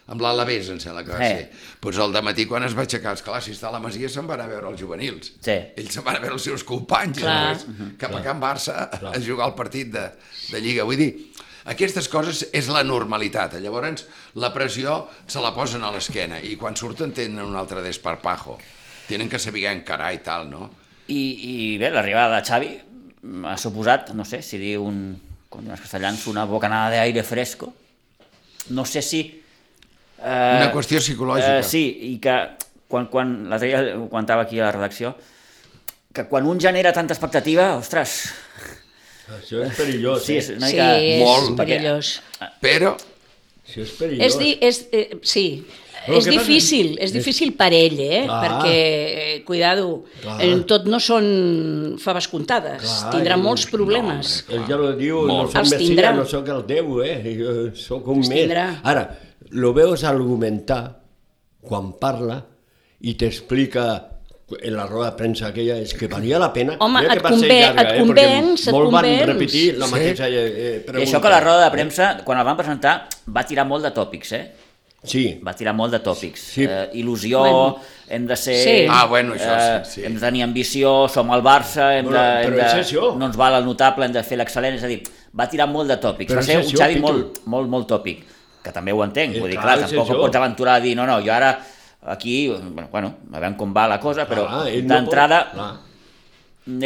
B: amb l'Alavés, em sembla que va
A: Eh.
B: ser. Doncs el de matí, quan es va aixecar, esclar, si està a la Masia, se'n van a veure els juvenils.
A: Sí.
B: Ells se'n van a veure els seus companys.
C: Clar.
B: Clar. uh-huh. Cap a Can Barça a jugar el partit de, de Lliga. Vull dir, aquestes coses és la normalitat. Llavors, la pressió se la posen a l'esquena i quan surten tenen un altre desparpajo. Tenen que saber encarar i tal, no?
A: I, i bé, l'arribada de Xavi mm, ha suposat, no sé, si diu un, com diuen els castellans, una bocanada d'aire fresco. No sé si... Eh,
B: Una qüestió psicològica.
A: Eh, sí, i que quan, quan l'altre dia ho comentava aquí a la redacció, que quan un genera tanta expectativa, ostres,
D: Això és perillós,
A: sí,
D: eh?
A: és una
C: Sí,
A: mica...
C: és
B: Molt.
C: perillós.
B: Però
D: Això és perillós.
C: És di és, eh, sí,
D: Però
C: és
D: què passa?
C: difícil, és difícil per ell, eh?
D: Clar.
C: perquè, eh, cuidado,
D: Clar.
C: eh, tot no són faves comptades,
D: Clar,
C: tindrà
D: i-
C: molts problemes.
D: Ell ja ho diu,
B: Molt.
D: no soc
C: Els
D: Messia,
C: tindrà.
D: no sóc el Déu, eh? Jo sóc un
C: Els
D: més.
C: tindrà.
D: Ara, lo veus argumentar quan parla i t'explica en la roda de premsa aquella és que valia la pena.
C: Home,
D: Mira que
C: et
D: va ser
C: convé-
D: llarga,
C: et
D: eh? Perquè
C: convenç, et
D: molt
C: convenç.
D: van repetir la
B: Sí.
D: mateixa eh, eh,
A: I
D: pregunta.
A: això que la roda de premsa, quan el van presentar, va tirar molt de tòpics, eh?
D: Sí,
A: Va tirar molt de tòpics.
D: Sí.
A: Eh, il·lusió,
C: Bueno.
A: hem de ser...
C: Sí.
B: Ah, bueno, això
A: eh,
B: sí, sí.
A: Hem de tenir ambició, som el Barça, hem
D: Però-
A: de,
D: però
A: hem de,
D: és això.
A: no ens val el notable, hem de fer l'excel·lent, és a dir, va tirar molt de tòpics.
D: Però
A: va
D: és
A: ser un
D: això,
A: Xavi
D: Pitu.
A: molt, molt, molt tòpic, que també ho entenc.
D: Eh,
A: Vull dir,
D: clar,
A: clar,
D: és
A: tampoc
D: això.
A: em pots aventurar a dir, no, no, jo ara aquí, bueno, bueno, a veure com va la cosa, però
D: Ah, ell no pot-
A: d'entrada
D: Clar.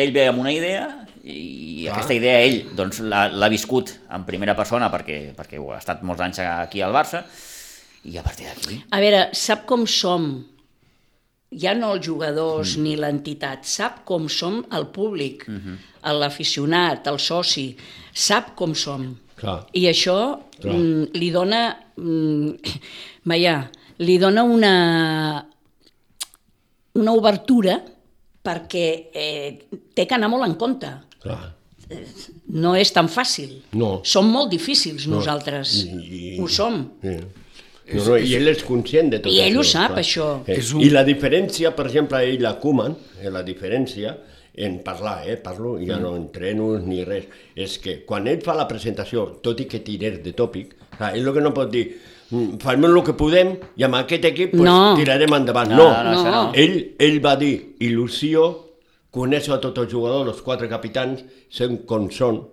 A: ell ve amb una idea i
D: Clar.
A: aquesta idea ell doncs, l'ha l'ha viscut en primera persona perquè, perquè ho ha estat molts anys aquí al Barça i a partir d'aquí
C: A veure, sap com som, ja no els jugadors mm. ni l'entitat, sap com som el públic, mm
D: Mhm.
C: -hmm. l'aficionat, el soci, sap com som.
D: Clar.
C: I això
D: Clar.
C: mm, li dona, mm, vaja, li dona una, una obertura perquè eh, té que anar molt en compte.
D: Clar.
C: No és tan fàcil.
D: No.
C: Som molt difícils nosaltres.
D: I- i-
C: Ho som.
D: Sí. No, no, I ell és conscient de tot
C: I ell ho
D: això,
C: sap,
D: clar.
C: això.
D: Eh,
B: És un-
D: I la diferència, per exemple, ell la Koeman, eh, la diferència en parlar, eh, parlo, ja no en trenos ni res, és que quan ell fa la presentació, tot i que tirés de tòpic, clar, ell el que no pot dir, "Mm, farem el que podem i amb aquest equip pues,
C: No.
D: tirarem endavant.
A: No, no,
D: No,
C: no, això no.
D: Ell, ell va dir, il·lusió, coneixo a tots els jugadors, els quatre capitans, sent com són,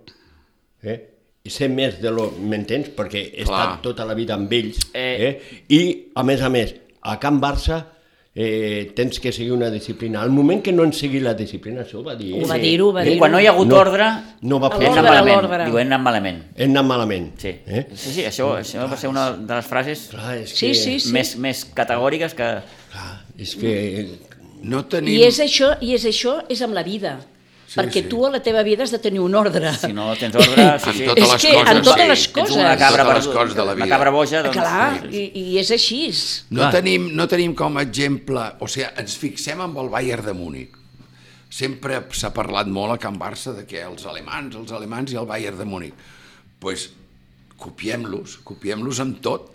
D: eh? i ser més de lo... M'entens? Perquè he
B: Clar.
D: estat tota la vida amb ells.
A: Eh.
D: Eh. eh? I, a més a més, a Can Barça eh, tens que seguir una disciplina. Al moment que no en sigui la disciplina, això ho va dir...
C: Ho va
D: ell,
C: dir, ho va dir.
A: Diu, quan no hi ha hagut
D: No.
A: ordre
D: No va
A: hem
D: poder.
A: anat malament
C: L'ordre,
A: diu, hem anat malament
D: Hem anat malament.
A: sí.
D: Eh?
A: sí, sí, eh. això, això va ser una de les frases
D: Clar, és
C: Sí,
D: que,
C: sí, sí.
A: més, més categòriques que
D: Clar, és que...
B: No tenim...
C: I és això, i és això, és amb la vida. Sí, perquè
B: sí.
C: sí. tu a la teva vida has de tenir un ordre.
A: si no tens ordre sí,
B: En
A: sí.
B: totes
C: És
B: les
C: que
B: coses,
C: en totes
B: sí.
C: les
A: ets
C: coses.
A: una cabra,
B: Totes les
A: perduda,
B: coses de la
A: una
B: vida.
A: cabra boja doncs,
C: Ah, Clar,
A: sí.
C: i, i és així.
B: No tenim, no tenim com a exemple... O sigui, ens fixem amb el Bayern de Múnich. Sempre s'ha parlat molt a Can Barça de que els alemans, els alemans i el Bayern de Múnich. Doncs pues, copiem-los, copiem-los amb tot,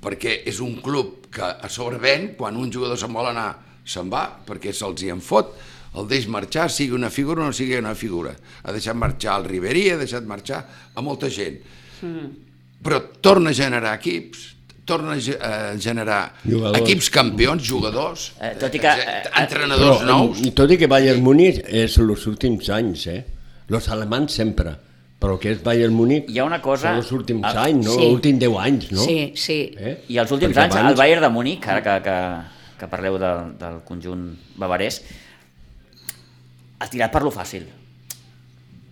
B: perquè és un club que a sobre ven, quan un jugador se'n vol anar, se'n va, perquè se'ls hi en fot, el deix marxar, sigui una figura o no sigui una figura. Ha deixat marxar el Ribery, ha deixat marxar a molta gent.
A: Mm.
B: Però torna a generar equips, torna a ge- a generar
D: Jugadors.
B: equips campions, jugadors,
A: Eh, tot i que, eh, eh,
B: entrenadors nous.
D: em, Tot i que Bayern Múnich és els últims anys, eh? Los alemans sempre. Però que és Bayern Múnich...
A: Hi ha una cosa-
D: Són els últims
A: Ah,
D: anys, no?
C: sí.
D: Sí. Els últims 10 anys, no?
C: No? Sí, sí.
D: Eh?
A: I els últims
D: Perquè
A: anys, el Bayern de Múnich, ara que, que, que parleu del, del conjunt bavarès, ha tirat per lo fàcil.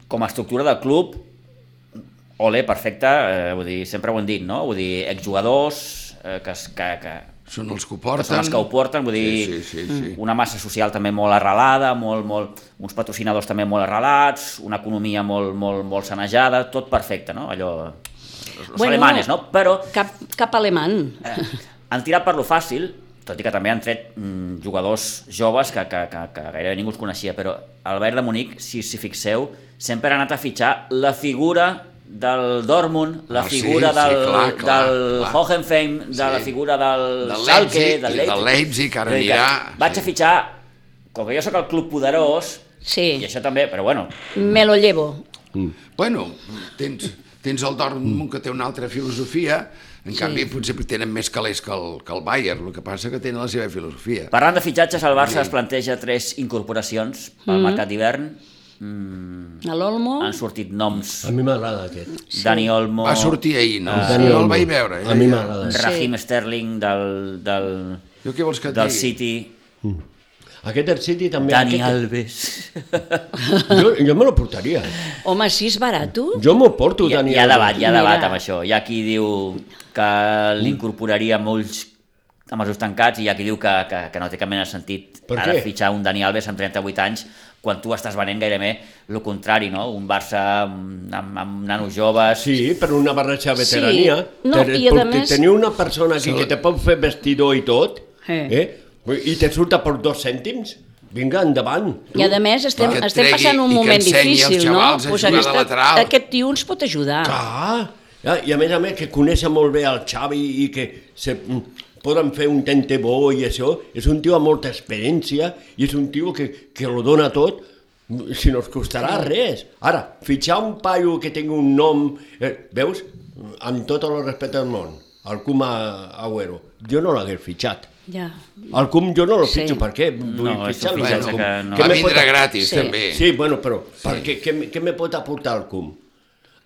A: Com a estructura del club, ole, perfecte, eh, vull dir, sempre ho hem dit, no? Vull dir, exjugadors, eh, que, es- que, que,
B: Són els que ho
A: que són
B: porten.
A: els que ho porten, vull dir, mm.
B: Sí, sí, sí, sí.
A: una massa social també molt arrelada, molt, molt, uns patrocinadors també molt arrelats, una economia molt, molt, molt sanejada, tot perfecte, no? Allò, els bueno, alemanes, no? Però
C: Cap, cap alemany.
A: Eh, han tirat per lo fàcil, tot i que també han tret mm, jugadors joves que, que, que, que gairebé ningú els coneixia, però el Bayern de Múnich, si s'hi fixeu, sempre ha anat a fitxar la figura del Dortmund, la
B: Ah, sí,
A: figura
B: sí,
A: del,
B: clar, clar,
A: del
B: clar.
A: Hohenheim, de
B: Sí.
A: la figura del,
B: Del
A: Schalke,
B: Leipzig,
A: del
B: i del
A: Leipzig.
B: Leipzig, que ara
A: És a dir,
B: anirà-
A: Vaig
B: sí.
A: a fitxar, com que jo sóc el club poderós,
C: Sí.
A: i això també, però bueno,
C: Me lo llevo.
B: Bueno, tens, tens el
D: Mm.
B: Dortmund que té una altra filosofia, en sí. canvi potser tenen més calés que el, que el Bayern, el que passa que tenen la seva filosofia.
A: Parlant de fitxatges, el Barça es planteja tres incorporacions pel mercat d'hivern. Mm,
C: A l'Olmo...
A: han sortit noms
D: A mi m'agrada aquest.
A: Dani Olmo,
B: Va sortir ahir, no?
D: Ah,
B: Ah, no el vaig veure.
D: A mi m'agrada.
A: Raheem Sterling del, del,
B: Jo què vols que et
A: del
B: digui?
A: City,
D: Aquest del City també...
A: Dani
D: aquest,
A: Alves.
D: jo, jo me lo portaria.
C: Home, si és barat,
D: Jo m'ho porto,
A: Hi ha,
D: Dani
A: hi ha debat, hi ha
C: Mira.
A: debat amb això. Hi ha qui diu que
D: Mm.
A: l'incorporaria amb ulls amb els ulls tancats i hi ha qui diu que, que, que no té cap mena de sentit
D: Per
A: ara
D: què?
A: fitxar un Dani Alves amb 38 anys quan tu estàs venent gairebé el contrari, no? Un Barça amb, amb, amb nanos joves...
D: Sí, per una barreja de veterania.
C: no,
D: Te-
C: i a
D: pot-
C: més-
D: Tenir una persona aquí que te pot fer vestidor i tot,
C: Eh.
D: eh? i te surt a per dos cèntims, vinga, endavant.
C: I a més estem,
B: que et
C: estem
B: tregui
C: passant un
B: i que
C: moment
B: ensenyi els
C: difícil, no?
B: xavals a jugar de lateral.
C: aquest tio ens pot ajudar.
D: Clar, ja, i a més a més que coneix molt bé el Xavi i que se, mm, poden fer un tente bo i això, és un tio amb molta experiència i és un tio que, que lo dona tot mm, si no es costarà res. Ara, fitxar un paio que tingui un nom, eh, veus, amb tot el respecte del món, el Kuma Agüero, jo no l'hagués fitxat.
C: Ja.
D: El Cum jo no el
C: Sí.
D: fitxo, per què? Vull
A: No, és un
D: fitxar-lo,
A: fitxatge
D: el Cum.
A: que no-
D: Què
B: Va
D: me
B: vindre
D: pot-
B: gratis,
C: Sí.
B: també.
D: Sí, bueno, però perquè, què, m- què me pot aportar el CUM?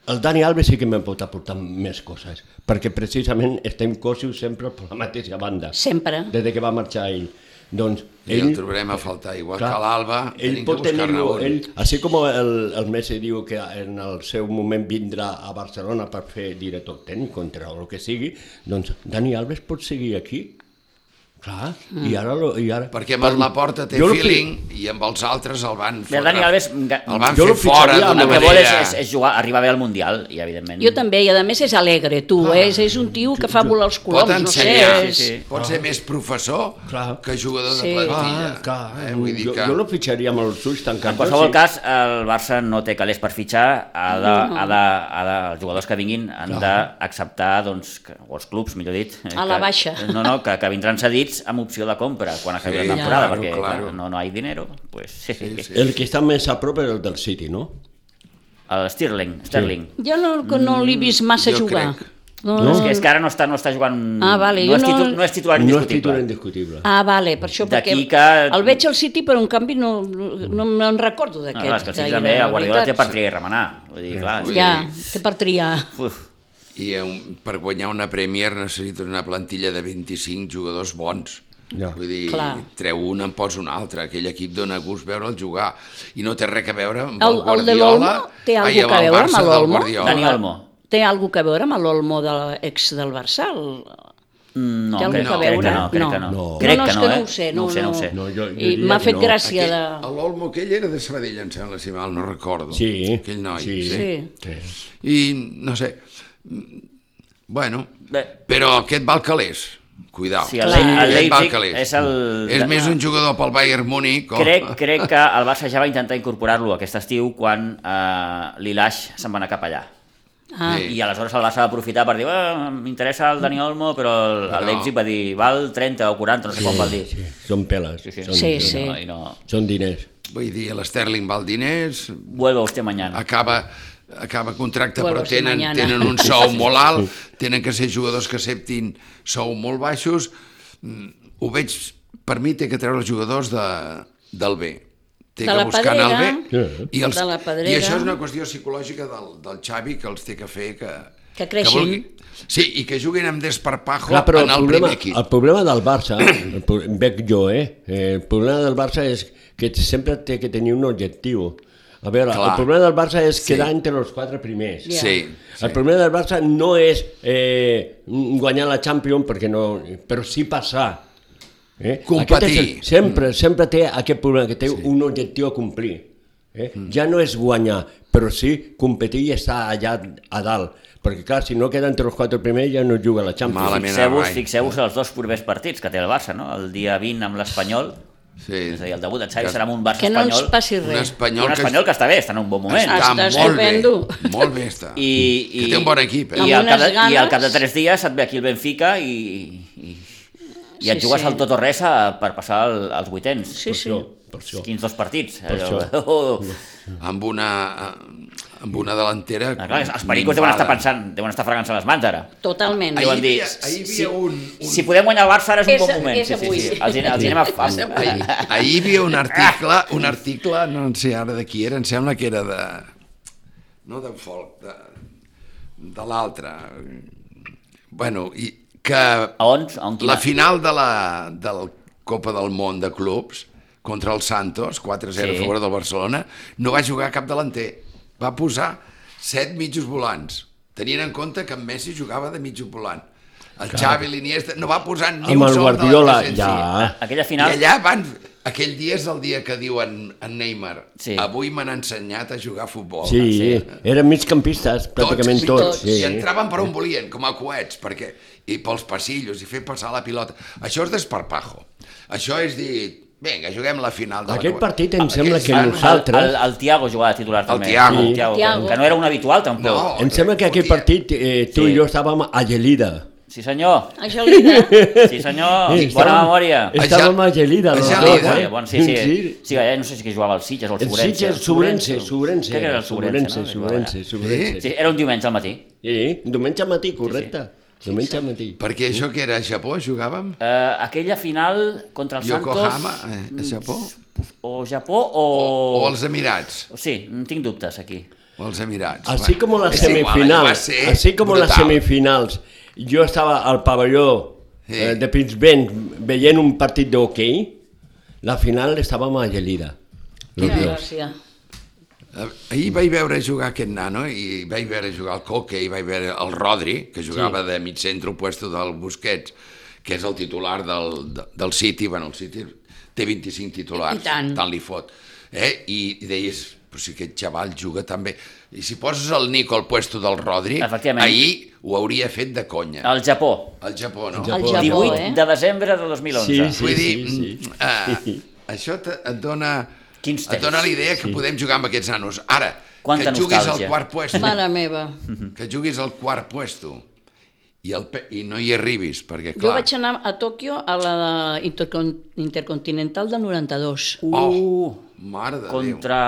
D: El Dani Alves sí que me pot aportar més coses, perquè precisament estem cosos sempre per la mateixa banda,
A: Mm.
C: Sempre.
D: des de que va marxar ell. Doncs
B: I el trobarem a faltar, igual que l'Alba,
D: ell
B: tenim que
D: pot
B: buscar
D: tenir
B: Raül.
D: ell, així com el, el Messi diu que en el seu moment vindrà a Barcelona per fer director tècnic contra o el que sigui, doncs Dani Alves pot seguir aquí. Clar, i ara... lo- I ara
B: Mm. Perquè amb el Laporta té
D: Jo lo fi-
B: feeling i amb els altres el van
A: Bé, Dani Alves, ga-
B: el van
D: jo
B: fer
D: lo
B: fora
D: fitxaria amb
B: d'una
A: el que
B: manera.
A: vol és, és, és jugar, arribar bé al Mundial, i evidentment...
C: Jo també, i a més és alegre, tu, ah, és, és un tio que fa volar els
B: pot
C: coloms, no sé,
B: ensenyar,
C: és...
A: sí, sí.
B: pot ser més professor
D: Clar.
B: que jugador
C: Sí.
B: de plantilla.
D: Ah, clar,
B: eh? Vull dir
D: jo,
B: que...
D: jo lo fitxaria amb els ulls tancats.
A: En qualsevol cas, el Barça no té calés per fitxar, ha de, ha de, ha de, els jugadors que vinguin han d'acceptar, doncs, que, o els clubs, millor dit... eh,
C: A la
A: que-
C: baixa.
A: No, no, que, que vindran cedits amb opció de compra quan acabi
B: Sí,
A: la temporada,
B: claro,
A: perquè
B: claro.
A: clar, no, no hi ha dinero. Pues, sí.
B: Sí, sí.
D: El que està més a prop és el del City, no?
A: El Sterling, Sterling.
C: Jo no, que no l'he vist massa
B: Mm, jo
C: jugar.
B: crec.
C: No,
A: És, que, és que ara no està, no està jugant...
C: Ah, vale,
A: no,
C: jo
A: és
C: no-
A: titu, no és titular
D: No és titular
A: indiscutible.
D: indiscutible.
C: Ah, vale, per això, perquè
A: D'aquí que-
C: el veig al City, però en canvi no, no me'n recordo
A: No,
C: d'aquest.
A: clar, és que el City
C: gaire,
A: també,
C: la
A: a Guardiola té
C: veritat.
A: per triar i remenar. Vull dir, clar, és
C: Ja,
A: que-
C: té per triar.
A: Uf,
B: I un, per guanyar una Premier necessites una plantilla de 25 jugadors bons.
D: Ja.
B: Vull dir,
C: Clar.
B: treu un, en posa un altre. Aquell equip dona gust veure'l jugar. I no té res a veure amb
C: El-
B: el,
C: el de
B: Guardiola...
C: l'Olmo té
B: ai,
C: algú que
B: el
C: veure amb
B: Barça del
C: l'Olmo?
B: Guardiola.
A: Dani Olmo.
C: Té alguna cosa a veure amb l'Olmo de l'ex del Barça? El...
A: Mm, No,
C: Té algú
A: crec,
C: que
A: crec que
C: veure?
A: no, crec que no.
D: No.
A: Crec
C: no,
A: que
C: és
A: no,
C: que
A: eh?
C: ho sé.
A: no ho sé, no ho sé.
D: No, jo- jo
C: I
D: diria
C: m'ha
D: que
C: fet
D: no.
C: gràcia de...
B: Aquell- L'Olmo aquell era de Sabadell, em sembla, si mal no recordo.
D: Sí.
B: Aquell noi.
D: Sí.
C: Sí.
D: Sí.
B: I, no sé, mm, bueno,
A: Bé.
B: però aquest va al calés, cuidao.
A: Sí, el,
C: Clar.
A: el
B: Ah, Aquest va al
A: Leipzig
B: calés.
A: és el...
B: És més un jugador pel Bayern Múnich. o-
A: Crec, crec que el Barça ja va intentar incorporar-lo aquest estiu quan eh, l'Ilaix se'n va anar cap allà.
C: Ah,
B: Sí.
A: I aleshores el Barça va aprofitar per dir "Ah, m'interessa el Dani Olmo, però el, el
B: Però-
A: Leipzig va dir val 30 o 40, no sé quan va dir.
D: Sí. Són peles. Són,
C: Sí,
D: són-
C: sí.
A: I no, i no...
D: Són diners.
B: Vull dir, l'Sterling val diners,
A: Vuelve usted mañana.
B: acaba acaba contracte
C: Bueno,
B: però
C: sí,
B: tenen,
C: mañana.
B: tenen un sou molt alt, tenen que ser jugadors que acceptin sou molt baixos. Mm, Ho veig, per mi té que treure els jugadors de, del B. Té
C: De
B: que
C: la
B: buscar anar al B.
D: pedrera. Sí.
B: I, els,
C: De la
B: I
C: pedrera.
B: això és una qüestió psicològica del, del Xavi que els té que fer que...
C: Que creixin.
B: vulgui- sí, i que juguin amb desparpajo
D: Clar, però
B: en el,
D: problema,
B: primer equip.
D: el problema del Barça, el pro- veig jo, eh? eh, el problema del Barça és que sempre té que tenir un objectiu. A veure, Clar.
B: Clar.
D: el problema del Barça és
B: Sí.
D: quedar entre els quatre primers.
C: Ja.
B: Sí,
D: El problema del Barça no és eh, guanyar la Champions, perquè no, però sí passar. Eh?
B: Competir.
D: Aquest és el- Sempre, sempre té aquest problema, que té Mm. sí. un objectiu a complir. Eh? Mm. Ja no és guanyar, però sí competir i estar allà a dalt. Perquè clar, si no queda entre els quatre primers ja no juga a la Champions.
B: Malament.
A: Fixeu-vos
B: Arrai.
A: fixeu els dos propers partits que té el Barça, no? El dia 20 amb l'Espanyol,
B: sí.
A: és a dir, el debut de Xavi
B: Que-
A: serà amb un Barça
C: que no ens
A: espanyol.
C: passi
B: Un
C: res.
B: espanyol,
A: un espanyol que està bé, està en un bon moment.
B: està,
C: Està
B: molt bé.
C: estupendo.
B: Molt bé està.
A: I, i,
B: que té un bon equip, eh?
A: I
C: Amb
A: al, cap de,
C: unes ganes.
A: I al cap de tres dies et ve aquí el Benfica i, i, i et
C: Sí,
A: jugues
C: sí.
A: al tot o res a, per passar al, als vuitens.
C: Sí, sí.
D: Per això, per això.
A: Quins dos partits?
D: Per
A: Allò-
D: això.
A: Oh,
B: amb una, eh, amb una delantera...
A: Ah, clar, els pericos deuen estar pensant, deuen estar fregant-se les mans ara.
C: Totalment.
A: Ahir-
B: Ahir
A: dir,
B: hi havia, ahir hi havia un... un...
A: Si podem guanyar el Barça ara és un
C: És-
A: bon moment.
C: és avui.
A: Sí, sí, sí. Els, els anem a...
B: Ahir, ahir hi havia un article, un article, no en sé ara de qui era, em sembla que era de... No d'en Folk, de, de l'altre. Bueno, i que
A: A on? A on
B: la final de la del Copa del Món de clubs contra el Santos, 4-0
A: Sí.
B: a favor del Barcelona, no va jugar cap delanter. Va posar set mitjos volants, tenint en compte que en Messi jugava de mitjo volant. El Xavi, l'Iniesta, no va posar ni
D: Amb
B: un
D: el
B: sol
D: Guardiola,
B: delanter
D: ja.
B: sencer.
A: Aquella
B: I
A: final...
B: allà van... Aquell dia és el dia que diuen en Neymar,
A: Sí.
B: avui m'han ensenyat a jugar a futbol.
D: Sí, sí, eren migcampistes, pràcticament tots.
B: I
D: sí.
B: entraven per on volien, com a coets, perquè, i pels passillos, i fer passar la pilota. Això és desparpajo. Això és dir, vinga, juguem la final. De la
D: Aquest
B: Copa". Ah,
D: partit em sembla
B: Aquests
D: que
B: van-
D: nosaltres-
A: El, el, el Tiago jugava de titular també.
B: Thiago. Sí.
C: Thiago.
A: Que no era un habitual, tampoc.
B: No.
D: Em sembla que aquest
B: Fotia.
D: partit eh, tu
A: Sí.
D: i jo estàvem a Gelida.
A: Sí, senyor.
C: Això li
A: Sí, senyor. Bona memòria.
D: Estàvem a Gelida.
B: A
D: no?
B: Gelida.
D: No,
A: Bueno,
D: eh?
A: Bon, sí, sí. sí, ja no sé si que jugava al Sitges o al
D: El
A: Sobrense.
D: Sitges, Sobrense, Sobrense.
A: Crec que era el Sobrense. no?
D: Sobrense, Sobrense, Sobrense.
A: Sí, era un diumenge al matí.
D: Sí, diumenge al matí, correcte. Diumenge al matí.
B: Perquè això que era a Japó, jugàvem?
A: Eh, aquella final contra el
B: Yokohama,
A: Santos...
B: eh, a Japó?
A: O Japó o...
B: O als Emirats?
A: Sí, en tinc dubtes aquí.
B: O als Emirats?
D: Així com
B: Bueno,
D: les
A: eh,
B: és igual, eh? va
D: semifinals,
B: ser
D: així com les
B: brutal.
D: semifinals, jo estava al pavelló
B: Sí.
D: eh, de Pittsburgh veient un partit d'hoquei, La final estàvem a Gelida. los
C: Quina
D: dos.
C: gràcia.
B: Eh, Ahir vaig veure jugar aquest nano i vaig veure jugar el Coque i vaig veure el Rodri, que jugava sí. de mig centre opuesto del Busquets, que és el titular del, de- del City. Bueno, el City té 25 titulars,
C: I tant.
B: tant li fot. Eh? I, I deies, però si aquest xaval juga també... I si poses el Nico al puesto del Rodri,
A: Efectivament. Ah.
B: ahir ho hauria fet de conya. El,
A: Al Japó,
B: al Japó, no?
C: El
D: Japó,
C: Japó,
A: 18
C: eh?
A: de desembre de 2011.
D: Sí,
B: Vull dir,
D: sí, sí.
B: mm, eh, això te- et dona...
A: Quins
B: et dona
A: temps.
B: la idea que podem jugar amb aquests nanos. Ara,
A: Quanta
B: que juguis
A: nostàlgia.
B: al quart puesto,
C: Mare meva.
B: que juguis al quart puesto i, el, pe- i no hi arribis, perquè
C: Jo
B: clar...
C: vaig anar a Tòquio a la intercon Intercontinental del 92.
B: Oh, mare de Déu.
A: Uh, Contra...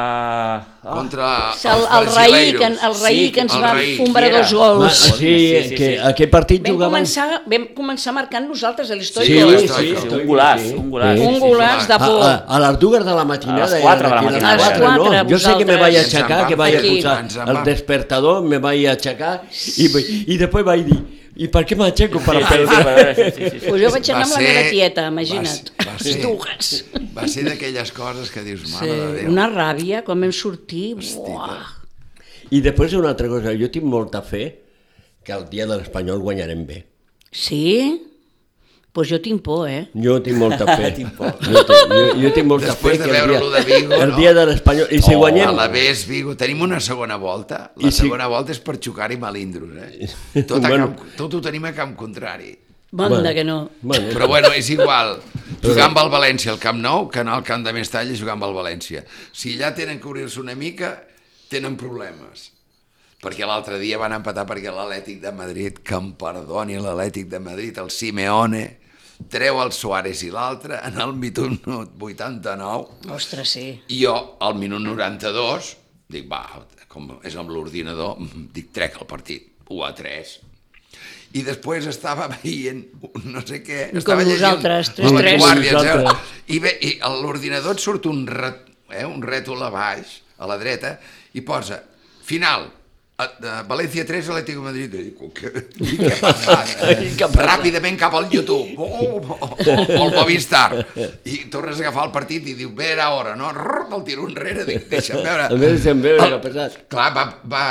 A: Ah,
B: Contra
C: O sigui, el, el,
B: els
C: raí que,
B: brasileiros.
C: el raí
A: Sí,
C: que ens
B: el
C: va
B: Raí,
C: comprar
A: qui era?
C: dos
D: Ma,
C: gols.
D: sí,
A: Sí, sí,
D: que
A: sí.
D: aquest partit
C: Vam
D: jugaven...
C: començar, vam començar marcant nosaltres a l'història.
B: Sí,
C: de
B: sí,
C: la-
B: sí,
A: sí, un golaç, un golaç.
C: Un
B: Ah,
C: golaç de
D: A,
C: por.
D: a, a les dues de la matinada.
A: A les
D: era
A: quatre de la
D: d'aquí, les
A: matinada.
D: quatre,
A: A les
C: quatre,
D: Jo sé que me vaig
C: vosaltres.
D: aixecar,
B: Ens en
D: que vaig
B: vam
C: fer
D: posar
B: aquí. Ens en
D: el
B: vam.
D: despertador, me vaig aixecar i, vaig- i després vaig dir i per què m'aixeco per
A: Sí, sí, sí,
D: perdre?
A: sí, sí, sí, sí.
C: Pues jo vaig
B: Va
C: anar amb la
B: ser-
C: meva tieta,
B: va
C: imagina't.
B: ser- va ser-
C: Les dues.
B: Va ser d'aquelles coses que dius, mare
C: Sí,
B: de Déu.
C: una ràbia, quan vam sortir, buah.
D: I després una altra cosa, jo tinc molta fe que el dia de l'Espanyol guanyarem bé.
C: Sí? Pues jo tinc por, eh?
D: Jo tinc molta fe.
A: Tinc por.
D: jo, tinc, jo, jo tinc molta
B: Després
D: fe
B: de
D: que el dia,
B: veure-lo de Vigo,
D: el
B: no?
D: dia de l'Espanyol... I si
A: Oh,
B: A
D: guanyem...
B: la vés, Vigo, tenim una segona volta. La
D: I si-
B: segona volta és per xocar-hi malindros, eh? Tot, a
D: Bueno.
B: camp, tot ho tenim a camp contrari.
C: Banda
D: Bueno.
C: que no.
D: Bueno,
B: Però bueno, és igual. Jugar amb el València al Camp Nou que anar al Camp de Mestalla i jugar amb el València. Si allà tenen que obrir-se una mica, tenen problemes. Perquè l'altre dia van empatar perquè l'Atlètic de Madrid, que em perdoni l'Atlètic de Madrid, el Simeone, treu el Suárez i l'altre en el minut 89
C: Ostres, sí.
B: I jo, al minut 92, dic, va, com és amb l'ordinador, dic, trec el partit, 1 a 3. I després estava veient un no sé què...
C: Com
B: estava llegint
C: nosaltres,
B: la
C: 3-3.
B: Vanguardia,
D: Com
B: em
D: nosaltres.
B: sembla. I, ve, i a l'ordinador et surt un, ret, eh, un rètol a baix, a la dreta, i posa, final, a, de València 3, Atlético de Madrid. I dic, "Oh, què, i què ha passat?
D: Què ha passat?
B: Ràpidament cap al YouTube. Oh, oh, oh, oh, el Movistar. I tornes a agafar el partit i diu, bé, era hora, no? Rrr, el tiro enrere, dic, deixa'm veure.
D: A veure si em veure
B: El-
D: què ha passat.
B: Clar, va, va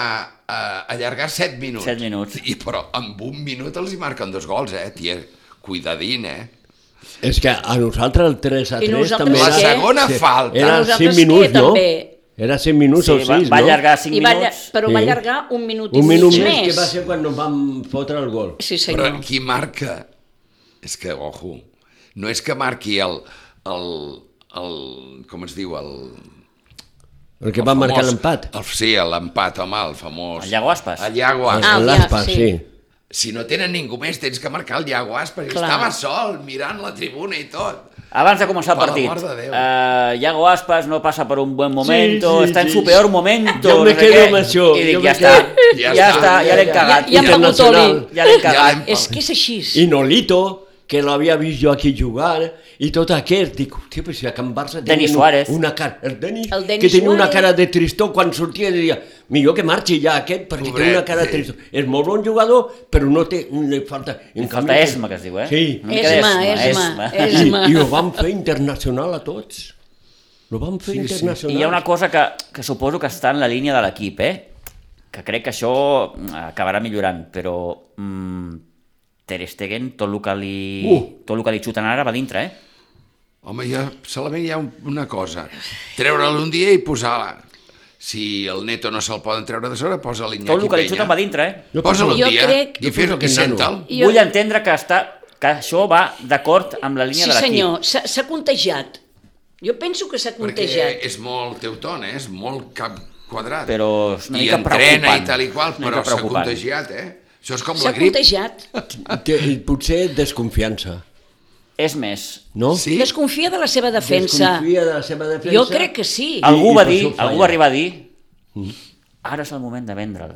B: eh, allargar 7 minuts.
A: Set minuts.
B: I, però amb un minut els hi marquen dos gols, eh, tia? Cuidadín, eh?
D: És que a nosaltres el 3 a
C: I
D: 3
C: nosaltres
D: també
B: La
D: era...
C: què?
B: segona
D: Sí,
B: falta.
D: Era
C: Nosaltres
D: 5
C: què,
D: minuts, no?
C: també?
D: Era 5 minuts o
A: Sí,
D: 6,
A: va, va
D: no?
A: allargar 5
C: I va, allar-
A: minuts.
C: però
D: Sí.
C: va allargar un minut i
D: Un minut
C: mig
D: més, que
C: més.
D: va ser quan nos vam fotre el gol.
C: Sí,
B: Però
C: senyor.
B: qui marca? És que, ojo, no és que marqui el... el, el com es diu? El,
D: El que
B: el
D: va marcar
B: famós-
D: l'empat.
B: el- Sí, l'empat, home, el famós...
A: El Iago Aspas.
B: El Iago Aspas.
C: Ah,
D: L'Aspa,
C: ja, sí.
D: sí.
B: Si no tenen ningú més, tens que marcar el Iago Aspas. I
C: Clar.
B: estava sol, mirant la tribuna i tot.
A: Abans de començar el
B: Per
A: partit,
B: l'amor de Déu.
A: eh, Iago Aspas no pasa por un buen momento,
D: sí,
A: está en
D: sí.
A: su peor momento,
D: Jo me
A: no sé
D: quedo
A: què,
D: amb això,
A: i
D: jo
A: dic,
D: me
A: ja
D: quedo-
A: està,
B: Ja
A: ja
B: està.
A: està, ja l'hem
B: Ja-
A: cagat,
C: ja- ja hem begut oli.
D: Internacional.
A: ja l'hem cagat.
B: l'hem-
C: És que és així.
D: I Nolito, que l'havia vist jo aquí jugar, i tot aquest, dic, hòstia, però si a Can Barça
A: Denis
D: un-
A: Suárez.
D: una cara, el Denis,
C: El Denis
D: que tenia una
C: Suárez.
D: cara de tristó quan sortia, diria, millor que marxi ja aquest, perquè té
B: Pobret,
D: una cara
B: sí.
D: de tristó. És molt bon jugador, però no té, li falta... en
A: Li
D: canvi-
A: falta esma, que es diu, eh?
D: Sí.
A: Una mica
C: Esma,
A: d'esma,
C: esma,
A: esma.
D: I,
C: ma.
D: I ho vam fer internacional a tots. Ho vam fer sí, internacional.
A: I hi ha una cosa que, que suposo que està en la línia de l'equip, eh? que crec que això mm, acabarà millorant, però mm, Ter Stegen, tot el que li, uh.
D: Uh.
A: tot el que li xuten ara va dintre, eh?
B: Home, ja solament hi ha un- una cosa. Treure'l un dia i posar-la. Si el neto no se'l poden treure de sobre, posa
A: Tot el
B: l'Iñaki
A: que li xuten va
B: Penya.
A: dintre, eh?
D: Jo
B: Posa'l un
C: Jo
B: dia
C: crec-
B: i fes-lo que
D: aquest nano.
B: senta'l.
A: Jo... Vull entendre que està que això va d'acord amb la línia
C: Sí,
A: de l'equip.
C: senyor, s'ha s'ha contagiat. Jo penso que s'ha
B: Perquè
C: contagiat.
B: és molt teuton, eh? és molt cap quadrat.
A: Però és una
B: I
A: mica
B: entrena i
A: preocupant.
B: tal i qual,
A: Una mica
B: però s'ha
A: preocupant.
B: contagiat, eh? Això és com la
C: S'ha
B: grip.
C: contagiat.
D: Té, potser desconfiança,
A: És més,
D: no?
B: Sí,
C: Desconfia de la seva defensa.
D: Desconfia de la seva defensa.
C: Jo crec que sí.
D: Ah.
A: algú
D: i
A: va
D: per
A: dir,
D: això falla.
B: Mm.
A: algú va arribar a dir ara és el moment de vendre'l.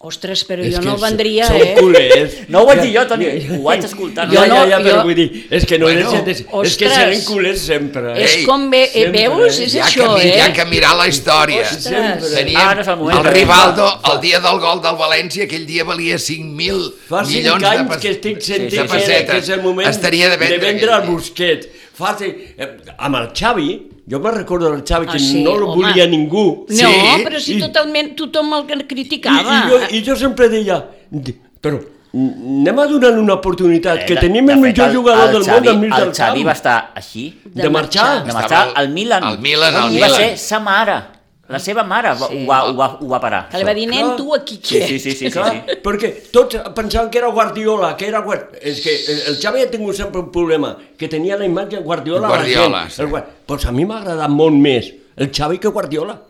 C: Ostres, però
B: És
C: jo
B: que
C: no el
B: és-
C: vendria,
D: Són
C: eh?
D: culers.
A: No ho vaig dir jo, Toni, ho vaig escoltar.
D: Ja,
C: Jo
D: ja,
C: no-
D: ja, però
C: jo-
D: vull dir, és que no
B: Bueno,
D: bueno, és, és que
C: ostres.
D: serem culers sempre.
C: És
B: Ei,
C: com ve, eh,
D: sempre,
C: veus?
D: eh?
C: És
B: hi ha
C: això,
B: que, mi- Hi ha
C: eh?
B: que mirar la història.
C: Ostres.
B: Teníem
A: Ara és el moment,
B: el
A: eh?
B: Rivaldo, el dia del gol del València, aquell dia valia 5.000
D: Fa cinc
B: milions de
D: anys
B: pes-
D: que estic sentint
B: de
D: sí, sí, que és el moment
B: Estaria de vendre,
D: vendre
B: aquell
D: el
B: dia.
D: Busquets. Fa cinc... eh, amb el Xavi, jo me'n recordo del Xavi, que
C: Ah, sí,
D: no el
C: home.
D: volia ningú.
B: Sí,
C: No, però si
D: i-
C: totalment tothom el que
D: I, i,
C: criticava.
D: jo, I jo sempre deia, "Di- però n- anem a donar una
A: Eh,
D: oportunitat, que tenim el millor jugador del món al mig del
A: El Xavi va
D: camp.
A: estar així,
C: estar-
D: De marxar.
A: de
B: Estava
A: marxar
B: al-
A: al Milan.
B: al Milan, al
A: I va
B: Milan.
A: ser sa mare, la seva mare va- ho, va, ho, va, ho va parar.
C: Que li va dir, nen,
D: Clar.
C: tu aquí
A: Sí,
C: què
A: sí, sí, sí, sí,
D: Clar,
A: sí.
D: perquè tots pensaven que era Guardiola, que era Guardiola. És que el- el Xavi ha tingut sempre un problema, que tenia la imatge Guardiola,
B: Guardiola,
D: a la gent.
B: sí.
D: El Guar- Doncs a mi m'ha agradat molt més el Xavi que Guardiola.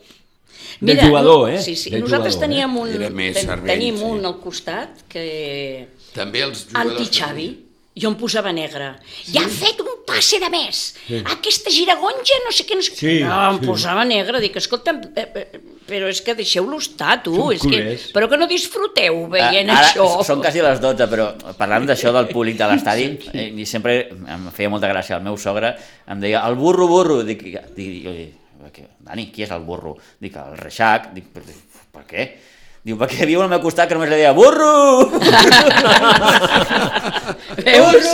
D: De
C: Mira,
D: jugador, eh?
C: Sí, sí.
D: De
C: Nosaltres
D: jugador,
C: teníem un,
B: Era més
C: ten-
B: cervell,
C: tenim
B: sí.
C: un al costat que...
B: També els jugadors...
C: Anti-Xavi. Jo em posava negre. Ja ha fet un passe de més. Aquesta giragonja, no sé què... No, sé...
D: Sí,
C: no em
D: sí.
C: posava negre. Dic, escolta'm, eh, eh, però és que deixeu-lo estar, tu.
D: Són
C: És que...
D: culers.
C: Però que no disfruteu
A: Ah,
C: veient
A: Ara
C: això.
A: són quasi les 12, però parlant d'això del públic de l'estadi, eh, i sempre em feia molta gràcia, el meu sogre em deia el burro, burro, dic, dic, jo dic "Què? Dani, qui és el burro? Dic, el Reixac, dic, per, per què? Diu, perquè viu al meu costat que només li deia burro!
C: Veus?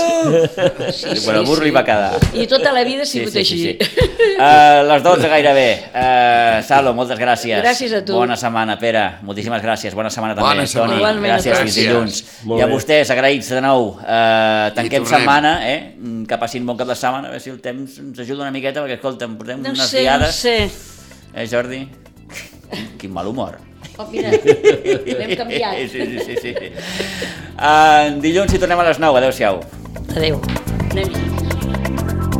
A: Sí, bueno, el burro li va quedar.
C: I tota la vida ha sigut així.
A: Sí, sí. Uh, les 12 gairebé. Uh, Salo, moltes gràcies.
C: Gràcies a tu.
A: Bona setmana, Pere. Moltíssimes gràcies. Bona setmana també,
B: Bona setmana.
A: Toni.
C: Igualment a
A: gràcies,
C: tots.
A: fins dilluns.
D: Molt
A: I a
D: bé.
A: vostès, agraïts de nou. Uh, tanquem
B: tornem.
A: setmana, eh? Mm, que passin bon cap de setmana, a veure si el temps ens ajuda una miqueta, perquè, escolta, em portem
C: No
A: unes
C: sé, no
A: diades.
C: sé.
A: Eh, Jordi? Quin mal humor.
C: Oh, mira, l'hem
A: Sí,
C: canviat.
A: sí, sí. sí, sí. Uh, dilluns hi tornem a les 9. Adéu-siau.
C: Adéu. Anem-hi.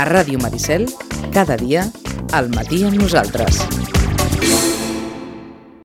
E: A Ràdio Maricel, cada dia, al matí amb nosaltres.